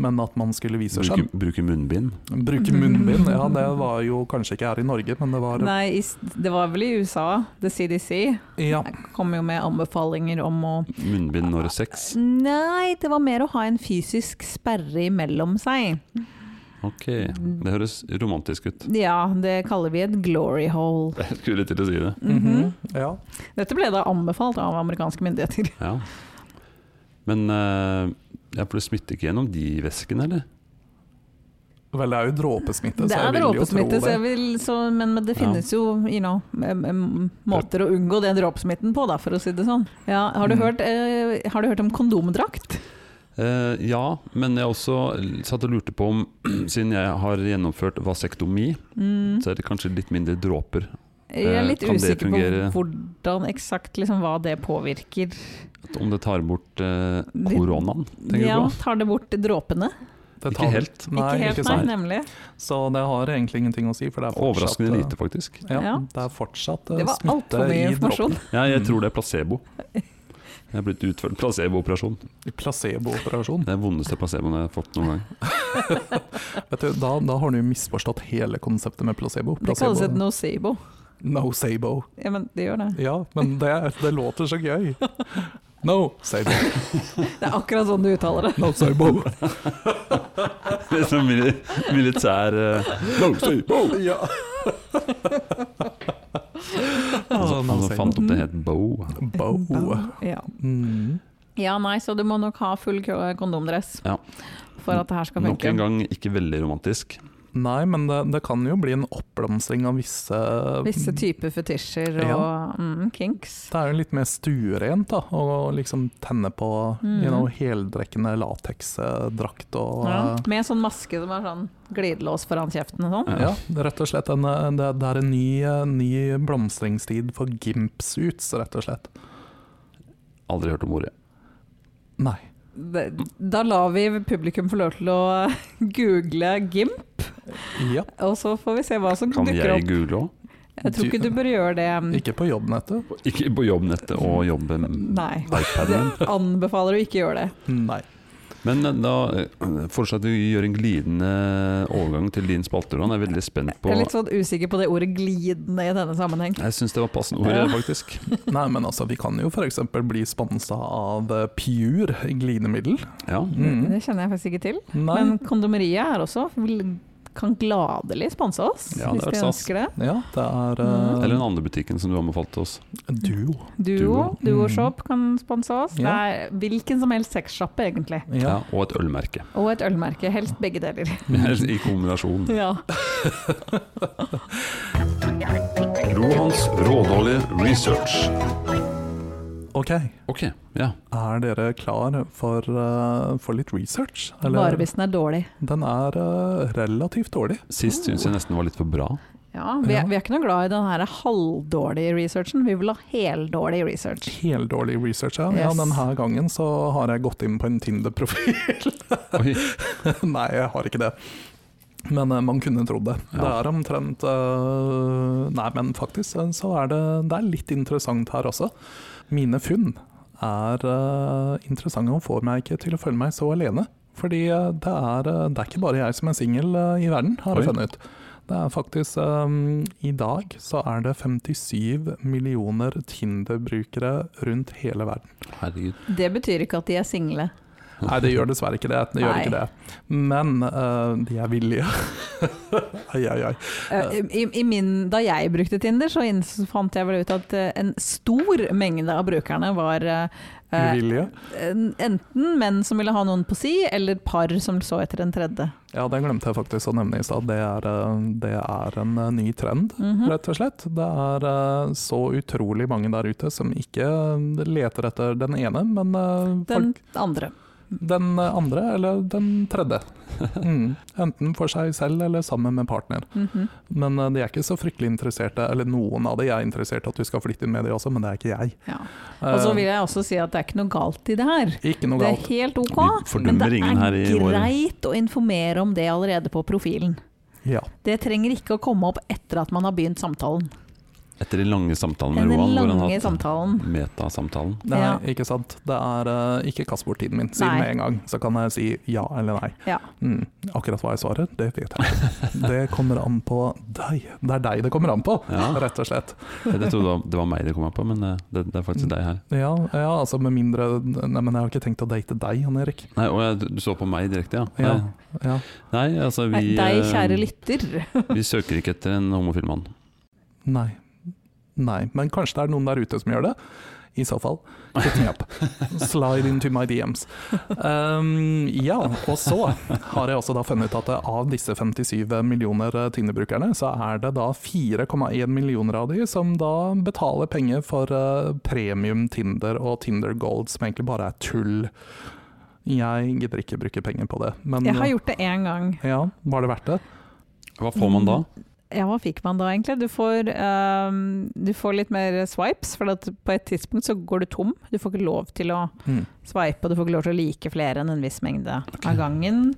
S4: Men at man skulle vise skjønn.
S2: Bruke, bruke munnbind.
S4: Bruke munnbind, ja det var jo kanskje ikke her i Norge, men det var
S3: Mm-hmm. Nei, i s- det var vel i USA, The CDC
S4: Ja,
S3: kom jo med anbefalinger om å
S2: Munnbind når sex.
S3: Nei, det var mer å ha en fysisk sperre imellom seg.
S2: Ok, det høres romantisk ut.
S3: Ja, det kaller vi et glory hole.
S2: Jeg skulle til å si det.
S3: Mhm.
S4: Mm-hmm. ja.
S3: Dette ble da anbefalt av amerikanske myndigheter.
S2: Ja. Men eh, ja, for det smitter ikke gjennom de væskene, eller?
S4: Vel, det er jo dråpesmitte,
S3: Det
S4: så
S3: er
S4: jeg vil jo tro
S3: dråpesmitte, så
S4: det.
S3: jeg vil, så, men men det finnes jo you know, em- em- måter å unngå den dråpesmitten på, da, for å si det sånn. Ja, har, du
S4: Mm.
S3: hørt, eh, har du hørt om kondomdrakt?
S2: Eh, ja, men jeg også satt og lurte på *clears throat* om Siden jeg har gjennomført vasektomi,
S3: Mm.
S2: så er det kanskje litt mindre dråper
S3: Jeg er litt
S2: Kan det
S3: usikker på
S2: fungere?
S3: hvordan eksakt liksom, hva det påvirker.
S2: Om det tar bort eh, koronaen, tenker
S3: Ja,
S2: du på?
S3: tar det bort dråpene?
S4: Det
S2: Ikke helt.
S4: Nei,
S3: ikke helt,
S4: ikke
S3: nei,
S4: sant.
S3: nemlig.
S4: Så det har egentlig ingenting å si. For det er fortsatt,
S2: Overraskende
S4: eh,
S2: lite, faktisk.
S4: Ja,
S3: Ja.
S4: Det er fortsatt eh,
S3: Det var
S4: smitte
S3: altfor
S4: i
S3: mye
S4: droppen.
S3: informasjon.
S2: Ja, jeg tror det er placebo. Jeg er blitt utført placebooperasjon.
S4: Placebooperasjon.
S2: Det er vondeste placeboen jeg har fått noen gang. *laughs*
S4: Vet du, da, da har du misforstått hele konseptet med placebo.
S3: Det kalles et
S4: placebo.
S3: nocebo.
S4: No-sabo.
S3: Ja, men det gjør det.
S4: Ja, men det, det låter så gøy. No-sabo.
S3: Det er akkurat sånn du uttaler det.
S4: No-sabo.
S3: *laughs*
S2: Det er sånn mili militær eh,
S4: Ja. *laughs*
S2: Han
S4: Altså,
S2: som- han som fant opp det het Bo.
S4: Bow.
S3: Ja.
S4: Mm.
S3: ja, nei, så du må nok ha full kø- kondomdress
S2: Ja.
S3: for at det her skal
S2: Nok en
S3: funke.
S2: gang ikke veldig romantisk.
S4: Nei, men det, det kan jo bli en oppblomstring av visse
S3: Visse typer fetisjer og
S4: Ja.
S3: mm, kinks.
S4: Det er jo litt mer stuerent, da. Å liksom tenne på
S3: Mm.
S4: you know, heldrekkende lateksdrakt og
S3: Ja.
S4: eh,
S3: Med sånn maske som er sånn glidelås foran kjeften og sånn.
S2: Ja.
S4: Ja, det er rett og slett en, eh, det, det er en ny, eh, ny blomstringstid for gimpsuits, rett og slett.
S2: Aldri hørt om ordet.
S4: Nei.
S3: Det- Da lar vi publikum få lov til å *laughs* google GIMP,
S4: Ja,
S3: og så får vi se hva som
S2: Kan
S3: dukker
S2: jeg
S3: opp.
S2: google òg?
S3: Jeg tror ikke du bør gjøre det.
S4: ikke på jobbnettet.
S2: Ikke på jobbnettet og jobbe med
S3: Nei.
S2: iPaden.
S3: Anbefaler å ikke gjøre det.
S4: Nei.
S2: Men eh, da eh, foreslår jeg at vi gjør en glidende overgang til din spalte. Roland. Jeg er veldig spent
S3: Jeg
S2: på
S3: er litt sånn usikker på det ordet 'glidende' i denne sammenheng.
S2: Jeg syns det var passende ord,
S3: Ja.
S2: faktisk.
S4: Nei, men altså, vi kan jo f.eks. bli sponsa av eh, Pure glidemiddel.
S2: Ja.
S4: Mm.
S3: Det kjenner jeg faktisk ikke til.
S4: Nei.
S3: Men kondomeriet er også vil, kan gladelig sponse oss,
S2: Ja, det
S3: hvis
S2: er
S3: de
S2: sant.
S3: ønsker det.
S4: Ja, det er
S3: Mm.
S4: eh,
S2: Eller den andre butikken som du anbefalte oss.
S4: duo.
S3: Duo,
S4: Duo.
S3: Duoshop kan sponse oss.
S4: Ja.
S3: Det er hvilken som helst sexsjappe, egentlig.
S2: Ja.
S4: Ja.
S2: Og et ølmerke. *laughs*
S3: Og et ølmerke. Helst begge deler.
S2: I kombinasjon.
S3: Ja.
S1: Rohans rådårlige research.
S4: Ok,
S2: Ok, ja.
S4: er dere klar for, eh, for litt research? Eller-
S3: Bare hvis den er dårlig.
S4: Den er eh, relativt dårlig.
S2: Sist syns jeg nesten var litt for bra.
S3: Ja, vi,
S4: Ja.
S3: Er, vi er ikke noe glad i den her halvdårlige researchen, vi vil ha heldårlig research.
S4: Heldårlig research, ja. ja.
S3: Yes.
S4: Denne gangen så har jeg gått inn på en Tinder-profil.
S2: Oi,
S4: *laughs* Nei, jeg har ikke det. Men eh, man kunne trodd det. Det
S2: Ja.
S4: er omtrent eh, Nei, men faktisk eh, så er det, det er litt interessant her også. Mine funn er eh, interessante og får meg ikke til å føle meg så alene. Fordi eh, det er, eh, det er ikke bare jeg som er singel eh, i verden, har
S2: Oi.
S4: jeg funnet ut. Det er faktisk eh, I dag så er det 57 millioner Tinder-brukere rundt hele verden.
S2: herregud.
S3: Det betyr ikke at de er single.
S4: Nei, det gjør dessverre ikke det. det, gjør
S3: Nei.
S4: ikke det. Men eh, de er villige. *laughs* ai, ai, ai.
S3: Eh, I, i min, da jeg brukte Tinder, så inns- fant jeg vel ut at eh, en stor mengde av brukerne var eh, eh,
S4: Uvillige.
S3: en- enten menn som ville ha noen på si, eller par som så etter en tredje.
S4: Ja, det glemte jeg faktisk å nevne i stad. Det, er, eh, det er en eh, ny trend,
S3: Mhm.
S4: rett og slett. Det er eh, så utrolig mange der ute som ikke eh, leter etter den ene, men eh,
S3: Den
S4: folk,
S3: andre.
S4: den eh, andre eller den
S3: *laughs*
S4: tredje. Mm. Enten for seg selv eller sammen med partner.
S3: Mhm.
S4: Men eh, de er ikke så fryktelig interesserte, eller noen av de er interessert i at du skal flytte inn med de også, men det er ikke jeg.
S3: ja. Og så
S4: Eh,
S3: vil jeg også si at det er ikke noe galt i det her.
S4: Ikke noe
S3: Det er
S4: galt.
S3: helt ok,
S2: Vi
S3: men det
S2: fordømmer ingen her i
S3: er
S2: vår
S3: greit å informere om det allerede på profilen.
S4: Ja.
S3: Det trenger ikke å komme opp etter at man har begynt samtalen.
S2: Etter den lange samtalen med
S3: Den
S2: Roan, hvor han
S3: lange
S2: har hatt
S3: samtalen.
S2: metasamtalen.
S4: Nei,
S3: Ja.
S4: ikke sant. Det er eh, ikke kast bort tiden min. Si det
S3: Nei.
S4: med en gang, så kan jeg si ja eller nei.
S3: Ja.
S4: Mm. Akkurat hva jeg svarer, det vet jeg ikke. Det kommer an på deg. Det er deg det kommer an på,
S2: Ja.
S4: rett og slett.
S2: Jeg trodde det var- det var meg det kom an på, men eh, det, det er faktisk deg her.
S4: Ja, ja, altså med mindre Nei, men jeg har ikke tenkt å date deg, Jan Erik.
S2: Nei, og jeg, du så på meg direkte, ja.
S4: Ja,
S2: Nei,
S4: ja.
S2: Nei altså
S3: Nei,
S2: vi
S3: Deg,
S2: eh,
S3: kjære lytter.
S2: *laughs* Vi søker ikke etter en homofil mann.
S4: Nei. Nei. Men kanskje det er noen der ute som gjør det. I så fall, hit me up. Slide into my DMs. Um, ja, og så har jeg også da funnet ut at av disse 57 millioner eh, Tinder-brukerne, så er det da 4,1 millioner av de som da betaler penger for eh, premium Tinder og Tinder Gold, som egentlig bare er tull. Jeg gidder ikke bruke penger på det. Men
S3: Jeg har gjort det én gang.
S4: ja, var det verdt det?
S2: Hva får man da?
S3: Ja, hva fikk man da egentlig? Du får, ehm, du får litt mer swipes, for at på et tidspunkt så går du tom. Du får ikke lov til å
S4: Mm.
S3: sveipe, og du får ikke lov til å like flere enn en viss mengde av gangen.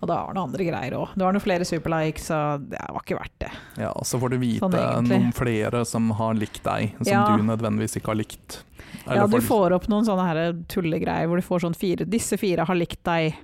S3: Og da har du andre greier òg. Du har noen flere superlikes, så det var ikke verdt det.
S4: Ja, og så får du vite
S3: Sånn egentlig.
S4: noen flere som har likt deg, som
S3: Ja.
S4: du nødvendigvis ikke har likt.
S3: ja, du får opp noen sånne her tullegreier hvor du får sånn fire Disse fire har likt deg,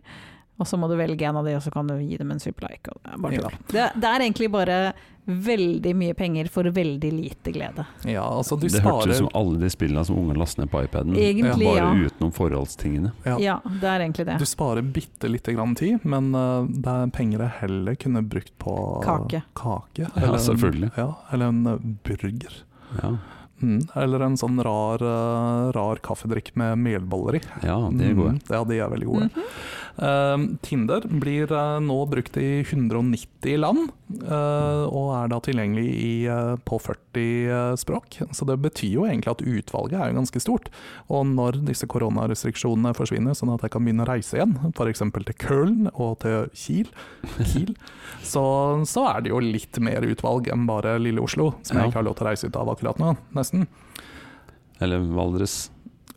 S3: og så må du velge en av de, og så kan du gi dem en superlike. og det er bare tull.
S4: ja.
S3: Det, det er egentlig bare veldig mye penger for veldig lite glede.
S4: ja, altså de
S2: det hørtes ut
S4: sparer
S2: som alle de spillene som ungene laster ned på iPaden.
S3: Egentlig,
S2: Mm. Bare
S3: ja.
S2: utenom forholdstingene.
S4: ja.
S3: Ja, det er egentlig det.
S4: Du sparer bitte lite grann tid, men eh, det er penger jeg heller kunne brukt på
S3: Kake.
S4: kake,
S2: Ja, selvfølgelig.
S4: Ja, eller en eh, burger.
S2: Ja,
S4: Mm, eller en sånn rar, eh, rar kaffedrikk med melboller i.
S2: ja det er gode.
S4: Mm, ja, de er veldig gode. Eh, Tinder blir eh, nå brukt i 190 land, eh, og er da tilgjengelig i, eh, på 40 eh, språk. Så det betyr jo egentlig at utvalget er jo ganske stort. Og når disse koronarestriksjonene forsvinner, sånn at jeg kan begynne å reise igjen, f.eks. til Köln og til Kiel,
S2: *laughs*
S4: Kiel så, så er det jo litt mer utvalg enn bare lille Oslo, som
S2: Ja.
S4: jeg ikke har lov til å reise ut av akkurat nå, nesten.
S2: Eller Valdres.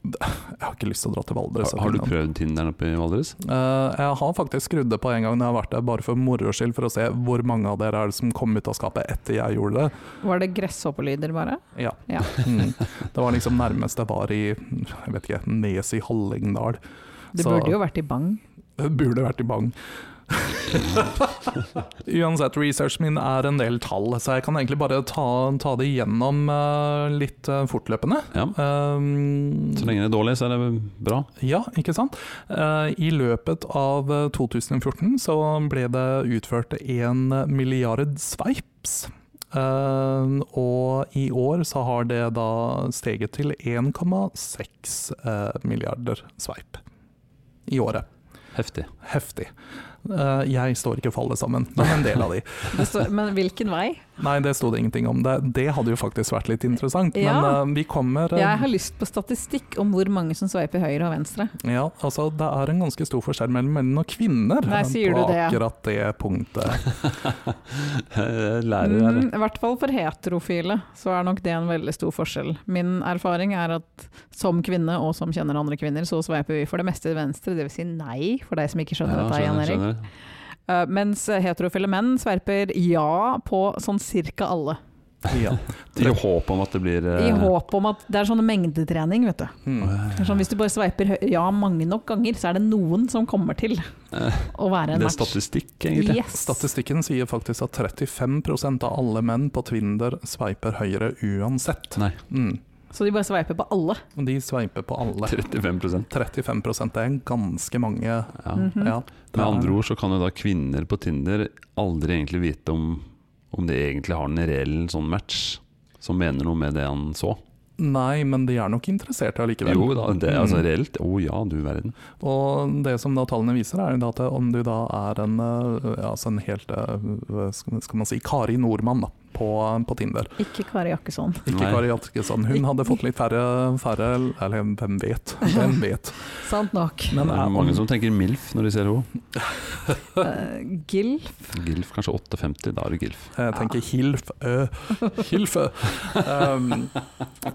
S4: Jeg har ikke lyst til å dra til Valdres.
S2: Har, har du
S4: akkurat nå.
S2: prøvd Tinderen oppe i Valdres?
S4: Eh, jeg har faktisk skrudd det på en gang når jeg har vært der, bare for moro skyld, for å se hvor mange av dere er det som kom ut av skapet etter jeg gjorde det.
S3: Var det gresshoppelyder, bare?
S4: Ja.
S3: Ja.
S4: *laughs* Mm. Det var liksom nærmest jeg var i jeg vet ikke, Nes i Hallingdal.
S3: Det
S4: Så-
S3: burde jo vært i bang.
S4: Burde vært i Bang. *laughs* Uansett, researchen min er en del tall, så jeg kan egentlig bare ta, ta det igjennom eh, litt eh, fortløpende.
S2: Ja.
S4: Um,
S2: Så lenge det er dårlig, så er det bra.
S4: Ja, ikke sant? Eh, I løpet av eh, 2014 så ble det utført en milliard sveips. Eh, og i år så har det da steget til 1,6 eh, milliarder sveip i året.
S2: Heftig. *laughs*
S4: Heftig. Eh, jeg står ikke for alle sammen, men en
S3: *laughs*
S4: del av de.
S3: Det står- Men hvilken vei?
S4: Nei, det sto det ingenting om. Det, det hadde jo faktisk vært litt interessant, men
S3: Ja.
S4: eh, vi kommer eh,
S3: Jeg har lyst på statistikk om hvor mange som sveiper høyre og venstre.
S4: Ja, altså det er en ganske stor forskjell mellom menn og kvinner
S3: Nei, sier
S4: på
S3: du det, ja.
S4: akkurat det
S2: *laughs*
S4: punktet.
S2: Lærer, lærer.
S3: Mm, I hvert fall for heterofile så er nok det en veldig stor forskjell. Min erfaring er at som kvinne og som kjenner andre kvinner, så sveiper vi for det meste til venstre, dvs. Si nei, for deg som ikke skjønner
S2: Ja,
S3: dette, Jan Erik.
S2: skjønner.
S3: Eh, mens heterofile menn sverper ja på sånn cirka alle.
S4: Ja.
S2: I håp om at det blir
S3: I
S2: eh,
S3: håp om at det er sånn mengdetrening, vet du.
S4: Mm.
S3: Det er Sånn, hvis du bare sveiper hø- ja mange nok ganger, så er det noen som kommer til å være
S2: Eh, Det er
S3: en match.
S2: statistikk, *laughs* egentlig.
S3: Yes.
S4: Statistikken sier faktisk at 35 av alle menn på Twinder sveiper høyre uansett.
S2: Nei,
S4: Mm.
S3: Så de bare sveiper på alle.
S4: Og De sveiper på alle.
S2: 35
S4: 35 det er ganske mange.
S2: ja.
S3: Mhm.
S4: Ja.
S2: Med andre ord så kan jo da kvinner på Tinder aldri egentlig vite om, om de egentlig har en reell sånn match som mener noe med det han så.
S4: Nei, men de er nok interesserte allikevel.
S2: Jo da, det er altså
S4: Mm.
S2: reelt. Å ja, du verden.
S4: Og det som da tallene viser, er jo da at om du da er en, eh, altså en helt eh, skal skal man si, Kari Nordmann da, på, på Tinder
S3: Ikke Kari Jakkesson.
S4: Ikke
S2: Nei.
S4: Kari Jatkesson. Hun hadde fått litt færre, færre Eller hvem vet? Hvem vet.
S3: Sant
S2: *laughs*
S3: nok.
S4: Men eh,
S2: det
S4: er,
S2: er mange som tenker MILF når de ser henne.
S3: Eh, Gil
S4: Mm.
S2: GILF kanskje 8,50, da er det GILF.
S4: jeg eh, tenker hilf, ø, hilfe. Um,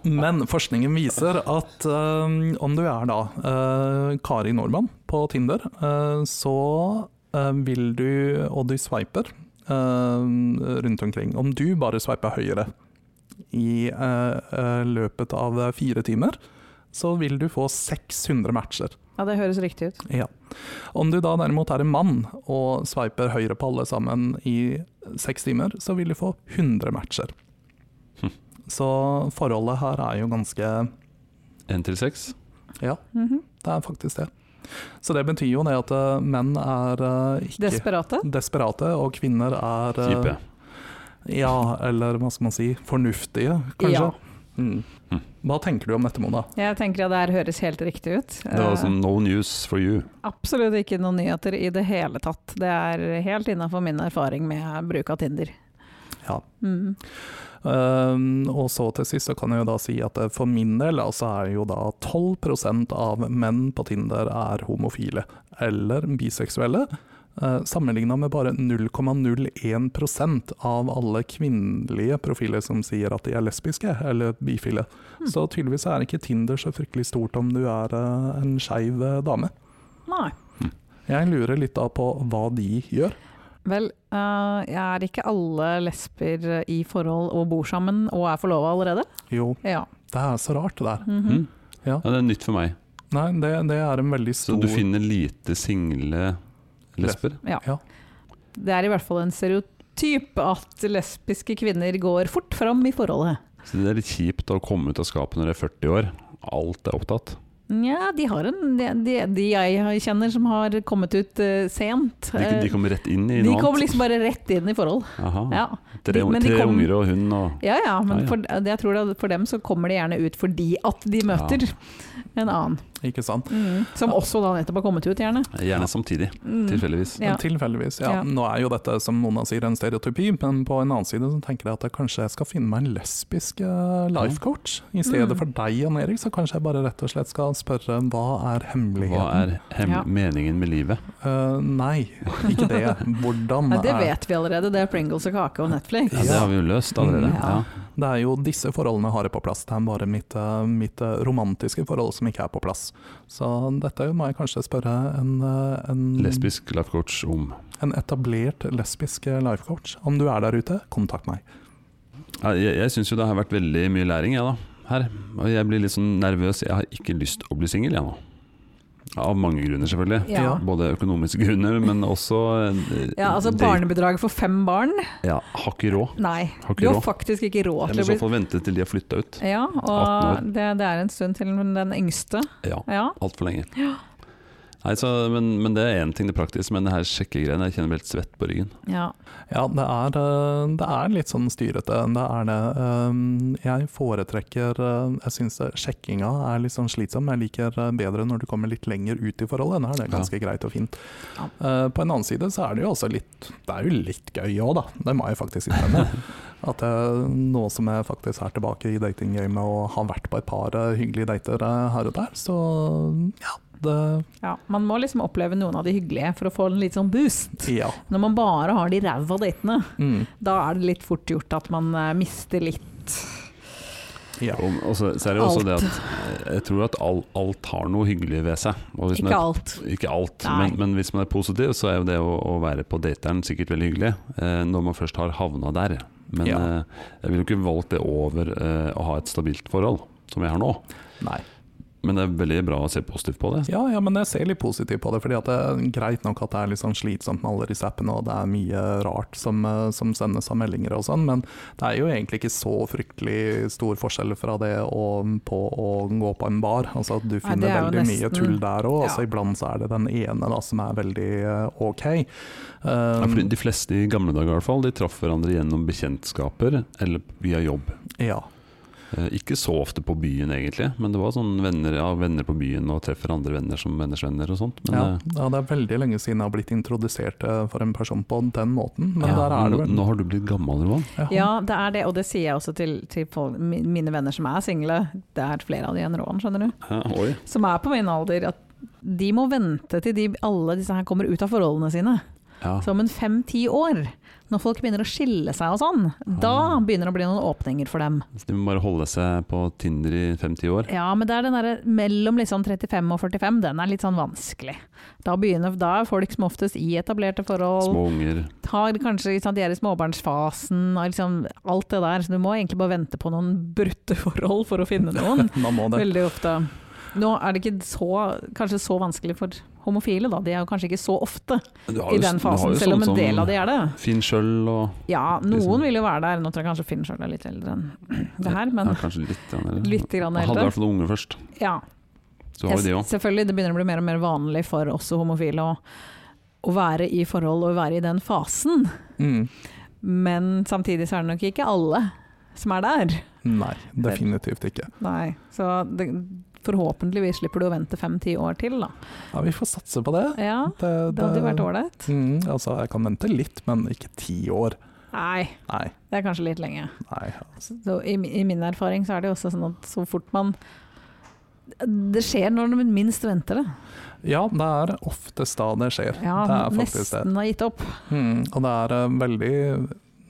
S4: men forskningen viser at um, om du er da eh, Kari Nordmann på Tinder, eh, så eh, vil du, og du sveiper eh, rundt omkring, om du bare sveiper høyre i eh, eh, løpet av fire timer, så vil du få 600 matcher.
S3: Ja, det høres riktig ut.
S4: Ja. Om du da derimot er en mann og sveiper høyre på alle sammen i seks timer, så vil du få 100 matcher.
S2: Hm.
S4: Så forholdet her er jo ganske
S2: Én til seks.
S4: Ja,
S3: Mhm.
S4: det er faktisk det. Så det betyr jo det at eh, menn er eh, ikke
S3: Desperate.
S4: desperate, og kvinner er eh,
S2: Kjipe.
S4: Ja, eller hva skal man si, fornuftige,
S3: Ja.
S4: kanskje. Mm.
S2: Hm.
S4: Hva tenker du om dette, Mona?
S3: Jeg tenker at det her høres helt riktig ut.
S2: Det var
S3: Eh,
S2: sånn no news for you.
S3: Absolutt ikke noen nyheter i det hele tatt. Det er helt innafor min erfaring med bruk av Tinder.
S4: Ja.
S3: Mm.
S4: Um, og så til sist så kan jeg jo da si at eh, for min del altså er jo da 12 av menn på Tinder er homofile eller biseksuelle. Eh, Sammenligna med bare 0,01 av alle kvinnelige profiler som sier at de er lesbiske eller bifile.
S3: Hmm.
S4: Så tydeligvis er ikke Tinder så fryktelig stort om du er eh, en skeiv eh, dame.
S3: Nei.
S4: Jeg lurer litt da på hva de gjør.
S3: Vel, eh, jeg er ikke alle lesber i forhold og bor sammen og er forlova allerede?
S4: Jo,
S3: Ja.
S4: det er så rart det der.
S2: Mm.
S3: Mhm.
S4: Ja.
S2: Ja, det er nytt for meg.
S4: Nei, det, det er en veldig
S2: Så
S4: stor
S2: du finner lite single lesber?
S3: Det er i hvert fall en stereotyp at lesbiske kvinner går fort fram i forholdet.
S2: Så det er litt kjipt å komme ut av skapet når du er 40 år. Alt er opptatt.
S3: Nja, de har en De, de, de jeg kjenner som har kommet ut eh, sent.
S2: De, de kommer rett inn i
S3: eh, de
S2: noe
S3: kom
S2: annet.
S3: liksom bare rett inn i forhold.
S2: Aha.
S3: Ja.
S2: Tre,
S3: de- men de
S2: tre
S3: kom-
S2: unger og hund og
S3: Ja ja,
S2: Ah,
S3: men
S2: Ja, ja.
S3: For, det- jeg tror det, for dem så kommer de gjerne ut fordi at de møter en annen.
S4: Ikke sant?
S3: Mm. Som også da nettopp har kommet ut, gjerne.
S2: Gjerne samtidig,
S3: Mm.
S2: tilfeldigvis.
S3: Ja.
S4: Men Tilfeldigvis, ja.
S3: Ja.
S4: Nå er jo dette, som Mona sier, en stereotypi, men på en annen side så tenker jeg at jeg kanskje jeg skal finne meg en lesbisk eh, life coach. I stedet
S3: Mm.
S4: for deg, Jan Erik, så kanskje jeg bare rett og slett skal spørre hva er
S2: Hva
S4: hemmeligheten?
S2: er hem
S3: Ja.
S2: meningen med livet?
S4: Eh, nei, ikke det. Hvordan
S3: *laughs* Ja, det
S4: er
S3: vet vi allerede, det er Pringles og kake og Netflix.
S2: Ja, det har vi jo løst allerede.
S3: Mm,
S2: Ja.
S3: ja.
S4: Det er jo disse forholdene har jeg på plass, det er bare mitt, eh, mitt eh, romantiske forhold som ikke er på plass. Så dette må jeg kanskje spørre en, eh, en
S2: Lesbisk life coach om
S4: En etablert lesbisk eh, life coach. Om du er der ute, kontakt meg.
S2: ja, Jeg, jeg syns jo det har vært veldig mye læring, jeg da. Her. Og jeg blir litt sånn nervøs. Jeg har ikke lyst å bli singel, jeg nå. Av mange grunner, selvfølgelig.
S3: Ja.
S2: Både økonomiske grunner, men også eh,
S3: Ja, altså
S2: det-
S3: Barnebidrag for fem barn?
S2: Ja, har ikke råd.
S3: Nei,
S2: Har ikke
S3: du har
S2: råd.
S3: faktisk ikke råd
S2: Jeg må i
S3: til å bli
S2: så fall vente til de har flytta ut.
S3: Ja,
S2: 18
S3: og det, det er en stund til den yngste.
S2: Ja,
S3: Ja.
S2: altfor lenge. Nei, så, men, men det er én ting det praktiske, men det her sjekkegreiene, jeg kjenner meg helt svett på ryggen.
S3: ja.
S4: Ja, det er, eh, det er litt sånn styrete. Det er det. Um, Jeg foretrekker eh, Jeg syns sjekkinga er litt sånn slitsom. Jeg liker eh, bedre når du kommer litt lenger ut i forholdet. Nå er det ganske greit og fint.
S3: Ja.
S4: Eh, På en annen side så er det jo også litt Det er jo litt gøy òg, da. Det må jeg faktisk innrømme. At jeg, nå som jeg faktisk er tilbake i datinggamet og har vært på et par eh, hyggelige dater eh, her og der, så ja. Det,
S3: ja. Man må liksom oppleve noen av de hyggelige for å få en litt sånn boost.
S4: ja.
S3: Når man bare har de ræva datene,
S4: Mm,
S3: da er det litt fort gjort at man eh, mister litt
S4: ja.
S2: Og, og så, så er det jo også det at jeg tror at all, alt har noe hyggelig ved seg. Og hvis man
S3: Ikke alt.
S2: Ikke alt,
S3: Nei.
S2: men, men hvis man er positiv, så er jo det å, å være på dateren sikkert veldig hyggelig. Eh, når man først har havna der. Men
S4: Ja.
S2: eh, jeg ville jo ikke valgt det over eh, å ha et stabilt forhold, som jeg har nå.
S4: Nei.
S2: Men det er veldig bra å se positivt på det.
S4: Ja, ja, men jeg ser litt positivt på det. fordi at det er greit nok at det er litt sånn slitsomt med alle disse appene, og det er mye rart som, eh, som sendes av meldinger og sånn, men det er jo egentlig ikke så fryktelig stor forskjell fra det å, på å gå på en bar. Altså at Du
S3: Nei,
S4: finner
S3: det er jo
S4: veldig mye
S3: nesten-
S4: tull der òg, og
S3: ja.
S4: så iblant så er det den ene da, som er veldig eh, OK.
S2: Ja,
S4: Um,
S2: fordi de fleste i gamle dager i hvert fall, de traff hverandre gjennom bekjentskaper eller via jobb.
S4: ja.
S2: Eh, ikke så ofte på byen egentlig, men det var sånn venner, ja, venner på byen og treffer andre venner som venners venner og sånt. Men,
S4: Ja,
S2: eh,
S4: ja, det er veldig lenge siden jeg har blitt introdusert eh, for en person på den måten, men
S2: ja,
S4: der er det
S2: nå,
S4: vel
S2: nå har du blitt gammel, Roan.
S3: Ja, det er det, og det sier jeg også til, til folk, mi- mine venner som er single. Det er flere av de enn Roan, skjønner du.
S2: Ja, oi.
S3: Som er på min alder. At de må vente til de, alle disse her kommer ut av forholdene sine.
S2: Ja.
S3: Så om en fem-ti år, når folk begynner å skille seg og sånn, da begynner det å bli noen åpninger for dem.
S2: Så de må bare holde seg på Tinder i 50 år.
S3: Ja, men det er den derre mellom liksom 35 og 45, den er litt sånn vanskelig. Da, begynner, da er folk som oftest i etablerte forhold,
S2: Små unger.
S3: har kanskje ikke sant, de er i småbarnsfasen og liksom alt det der. Så du må egentlig bare vente på noen brutte forhold for å finne noen.
S2: *laughs*
S4: Da må det
S3: Veldig ofte. Nå er det ikke så, kanskje så vanskelig for homofile, da. De er jo kanskje ikke så ofte
S2: Du har
S3: i
S2: jo-
S3: den
S2: du har
S3: fasen,
S2: jo
S3: selv om
S2: sånn
S3: en
S2: som
S3: del av de er det.
S2: Finn sjøl og
S3: Ja, noen
S2: Liksom.
S3: vil jo være der. Nå tror jeg kanskje Finn sjøl er litt eldre enn det her, men
S2: ja, Kanskje litt grann eldre.
S3: litt grann
S2: Man Hadde i
S3: eldre.
S2: hvert fall unger først.
S3: Ja,
S2: Så har vi de
S3: jeg-
S2: òg.
S3: selvfølgelig. Det begynner å bli mer og mer vanlig for også homofile å, å være i forhold og være i den fasen,
S4: mm.
S3: men samtidig så er det nok ikke alle som er der.
S4: Nei, definitivt ikke.
S3: Nei, så det, forhåpentligvis slipper du å vente fem-ti år til, da.
S4: Ja, vi får satse på det.
S3: Ja, det hadde jo vært ålreit.
S4: Mm, altså, jeg kan vente litt, men ikke ti år.
S3: Nei,
S4: Nei.
S3: det er kanskje litt lenge.
S4: nei.
S3: Så i, mi- I min erfaring så er det jo også sånn at så fort man Det skjer når man minst venter det.
S4: Ja, det er oftest da det skjer.
S3: Ja,
S4: det er faktisk det.
S3: nesten har gitt opp.
S4: Mm, og det er eh, veldig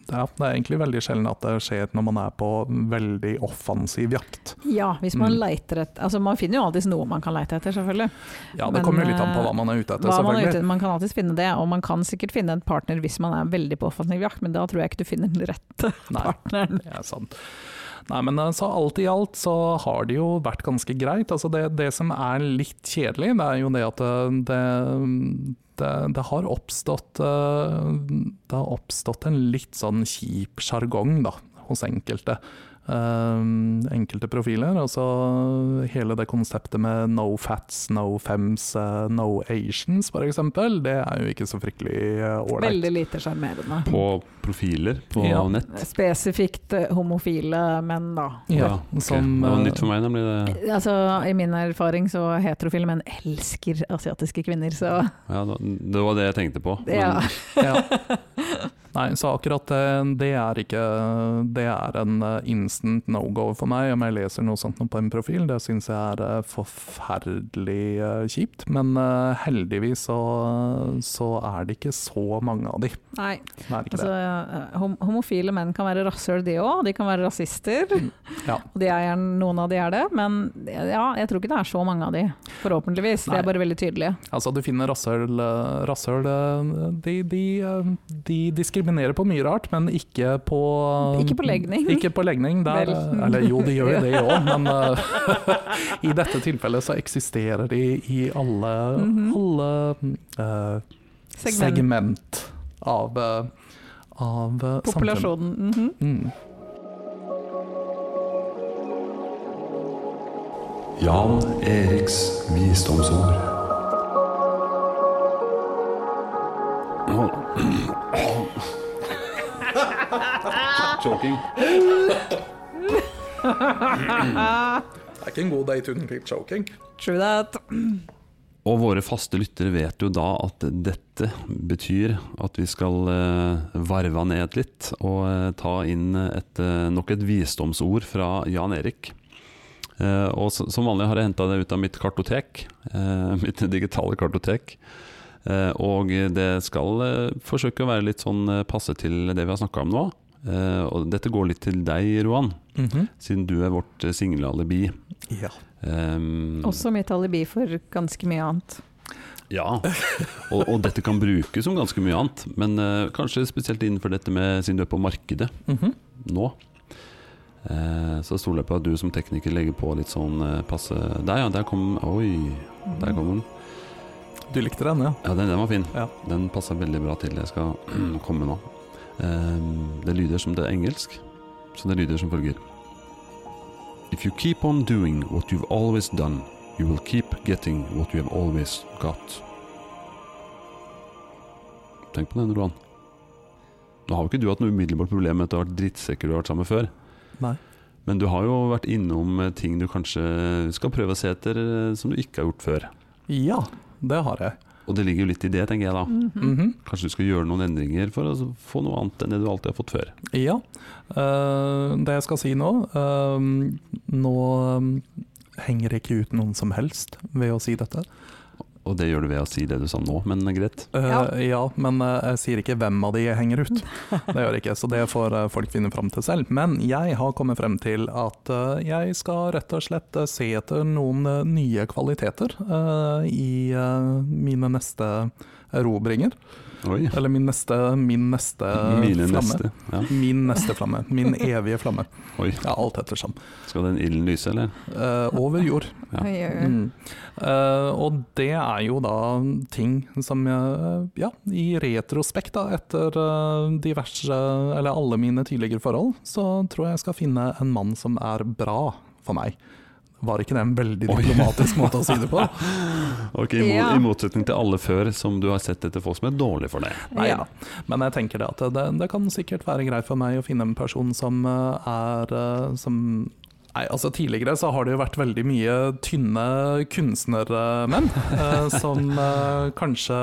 S4: ja, det er egentlig veldig sjelden at det skjer når man er på veldig offensiv jakt.
S3: Ja, hvis man
S4: Mm.
S3: leiter etter Altså, man finner jo alltid noe man kan leite etter, selvfølgelig.
S4: Ja, Det
S3: Men,
S4: kommer jo litt an på
S3: eh,
S4: hva man er ute etter,
S3: Hva man, er ute,
S4: selvfølgelig.
S3: etter, man kan alltids finne det, og man kan sikkert finne en partner hvis man er veldig på offensiv jakt, men da tror jeg ikke du finner den rette *laughs*
S4: Nei.
S3: partneren.
S4: Ja, sant. Nei, men eh, så alt i alt så har det jo vært ganske greit. Altså det, det som er litt kjedelig, det er jo det at eh, det, det, det har oppstått eh, Det har oppstått en litt sånn kjip sjargong, da, hos enkelte. eh, enkelte profiler, altså hele det konseptet med no fats, no fems, eh, no asians f.eks., det er jo ikke så fryktelig eh, ålreit.
S3: Veldig lite sjarmerende.
S2: På profiler på
S4: Ja.
S2: nett.
S3: Spesifikt eh, homofile menn, da.
S4: Ja,
S2: ok.
S4: som,
S2: det var
S4: eh,
S2: nytt for meg, nemlig. Det.
S3: Altså, I min erfaring så heterofile menn elsker asiatiske kvinner, så
S2: Ja, da- det var det jeg tenkte på. Men
S3: ja.
S4: Ja. Nei, så akkurat det, det er ikke Det er en eh, instant no go for meg om jeg leser noe sånt noe på en profil. Det syns jeg er eh, forferdelig eh, kjipt, men eh, heldigvis så, så er det ikke så mange av de.
S3: *laughs* Nei,
S4: Det er ikke
S3: altså eh, hom homofile menn kan være rasshøl de òg, de kan være rasister.
S4: det. Ja.
S3: Og de er, gjerne- noen av de er det, men ja, jeg tror ikke det er så mange av de. Forhåpentligvis. De
S4: Nei.
S3: er bare veldig tydelige.
S4: Altså, du finner rasshøl eh, Rasshøl eh, de, de, eh, de diskriminerer på mye rart, men ikke på eh,
S3: Ikke på legning.
S4: Ikke på legning. Der, eh,
S3: Vel.
S4: eller jo, de gjør jo det òg, men eh, *laughs* i dette tilfellet så eksisterer de i alle,
S3: Mhm.
S4: alle eh, segment.
S3: Segment.
S4: av, eh, av eh, samfunnet.
S3: Populasjonen. mhm.
S4: Mm.
S1: Jan Eriks visdomsord.
S2: Choking.
S4: Det er ikke en god date uten clip choking.
S3: True that.
S2: Mm. Og våre faste lyttere vet jo da at dette betyr at vi skal eh, varve ned litt og eh, ta inn et, eh, nok et visdomsord fra Jan Erik. Eh, og s- som vanlig har jeg henta det ut av mitt kartotek, eh, *laughs* mitt digitale kartotek. Eh, og det skal eh, forsøke å være litt sånn eh, passe til det vi har snakka om nå. Eh, og dette går litt til deg, Roan,
S4: Mhm.
S2: siden du er vårt eh, singelalibi.
S4: Ja.
S2: Um,
S3: Også mitt alibi for ganske mye annet.
S2: Ja, og, og dette kan brukes som ganske mye annet, men eh, kanskje spesielt innenfor dette med siden du er på markedet
S4: Mhm.
S2: nå. Eh, så stoler jeg på at du som tekniker legger på litt sånn eh, passe Der, ja, der kom Oi, der kom den.
S4: Du likte den, ja?
S2: Ja, den, den var fin.
S4: Ja.
S2: Den passa veldig bra til. Jeg skal *clears throat* komme nå. Eh, det lyder som det er engelsk, så det lyder som følger. If you keep on doing what you've always done, you will keep getting what you have always got. Tenk på den, Roan. Nå har jo ikke du hatt noe umiddelbart problem med at du har vært drittsekker du har vært sammen med før.
S4: Nei.
S2: Men du har jo vært innom eh, ting du kanskje skal prøve å se etter eh, som du ikke har gjort før.
S4: Ja, det har jeg.
S2: Og det ligger jo litt i det, tenker jeg da.
S3: Mhm.
S4: Mhm.
S2: Kanskje du skal gjøre noen endringer for å få noe annet enn det du alltid har fått før.
S4: Ja. eh, det jeg skal si nå eh, Nå eh, henger jeg ikke ut noen som helst ved å si dette.
S2: Og det gjør du ved å si det du sa nå, men greit.
S4: Eh, ja.
S3: Ja.
S4: men eh, jeg sier ikke hvem av de jeg henger ut. Det gjør jeg ikke, så det får eh, folk finne fram til selv. Men jeg har kommet frem til at eh, jeg skal rett og slett eh, se etter noen eh, nye kvaliteter eh, i eh, mine neste erobringer.
S2: Oi.
S4: Eller min neste, min neste
S2: Mine
S4: flamme.
S2: neste. Ja.
S4: Min neste flamme. Min evige flamme.
S2: Oi.
S4: Ja, alt ettersom.
S2: Skal den ilden lyse, eller?
S4: Eh, over jord.
S2: Ja.
S3: Oi, oi, oi.
S4: Mm. Eh, og det er jo da ting som jeg, ja, i retrospekt da, etter eh, diverse, eller alle mine tidligere forhold, så tror jeg jeg skal finne en mann som er bra for meg. Var ikke det en veldig
S2: Oi.
S4: diplomatisk måte å si det på?
S2: Ok, i, mo
S3: Ja.
S2: I motsetning til alle før som du har sett etter folk som er dårlige for deg.
S4: Nei,
S3: Ja.
S4: da. Men jeg tenker det at det, det kan sikkert være greit for meg å finne en person som eh, er eh, som Nei, altså Tidligere så har det jo vært veldig mye tynne kunstnermenn eh,
S2: *laughs*
S4: som eh, kanskje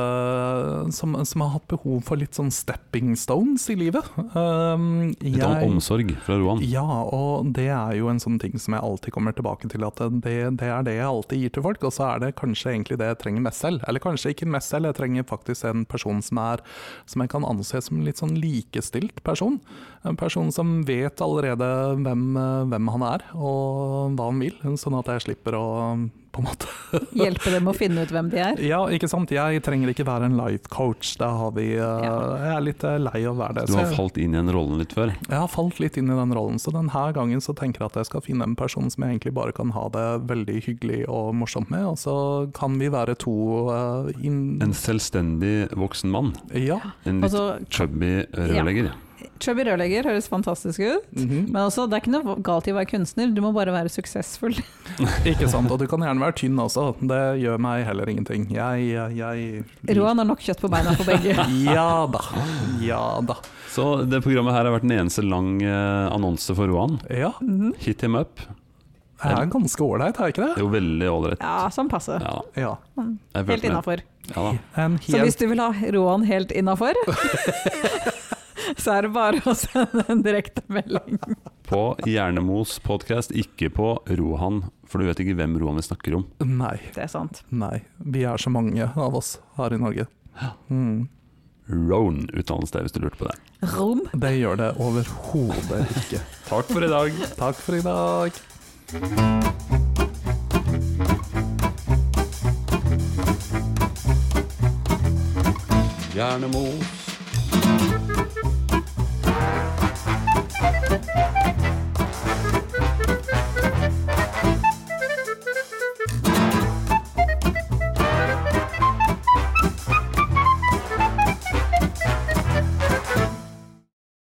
S4: som, som har hatt behov for litt sånn stepping stones i livet. Um,
S2: Litt om
S4: jeg-
S2: omsorg fra Roan.
S4: ja, og det er jo en sånn ting som jeg alltid kommer tilbake til, at det, det er det jeg alltid gir til folk, og så er det kanskje egentlig det jeg trenger mest selv. Eller kanskje ikke mest selv, jeg trenger faktisk en person som er som jeg kan anse som en litt sånn likestilt person. En person som vet allerede hvem, eh, hvem han er, og hva han vil, sånn at jeg slipper å på en måte *laughs*
S3: Hjelpe dem å finne ut hvem de er.
S4: Ja, ikke sant. Jeg trenger ikke være en life coach, da har vi eh,
S3: Ja.
S4: Jeg er litt eh, lei av å være det.
S2: Du
S4: så
S2: har
S4: jeg-
S2: falt inn i den rollen litt før.
S4: jeg har falt litt inn i den rollen, så denne gangen så tenker jeg at jeg skal finne en person som jeg egentlig bare kan ha det veldig hyggelig og morsomt med, og så kan vi være to eh, inn...
S2: En selvstendig voksen mann.
S4: Ja.
S2: En litt
S3: Mm. Altså,
S2: chubby rørlegger.
S3: Chubby rørlegger høres fantastisk ut,
S4: Mhm.
S3: men også, det er ikke noe galt i å være kunstner, du må bare være suksessfull.
S4: Ikke sant. Og du kan gjerne være tynn også, det gjør meg heller ingenting. Jeg, jeg,
S2: Mm.
S4: jeg
S3: Roan har nok kjøtt på beina for
S2: *laughs*
S3: begge.
S4: Ja da. Ja da.
S2: Så det programmet her har vært en eneste lang eh, annonse for Roan.
S4: Ja,
S3: Mhm.
S2: Hit him up.
S4: jeg er ganske ålreit, er jeg ikke
S2: Det
S4: det?
S2: er jo veldig ålreit.
S3: Ja, sånn passe. Sånn,
S2: Ja,
S4: Ja.
S2: jeg
S3: Helt
S2: følte med.
S3: innafor.
S2: Ja, da.
S4: En
S3: Så hvis
S4: helt
S3: du vil ha Roan helt innafor,
S2: *laughs*
S3: *laughs* så er det bare å sende en direktemelding.
S2: På Hjernemos podkast, ikke på Rohan, for du vet ikke hvem Rohan vi snakker om.
S4: Nei.
S3: Det er sant.
S4: Nei. Vi er så mange av oss her i Norge. Mm.
S2: Roan uttales det, hvis du lurte på det.
S3: Rom.
S4: Det gjør det overhodet ikke.
S2: Takk for i dag.
S4: Takk for i dag.
S2: Hjernemos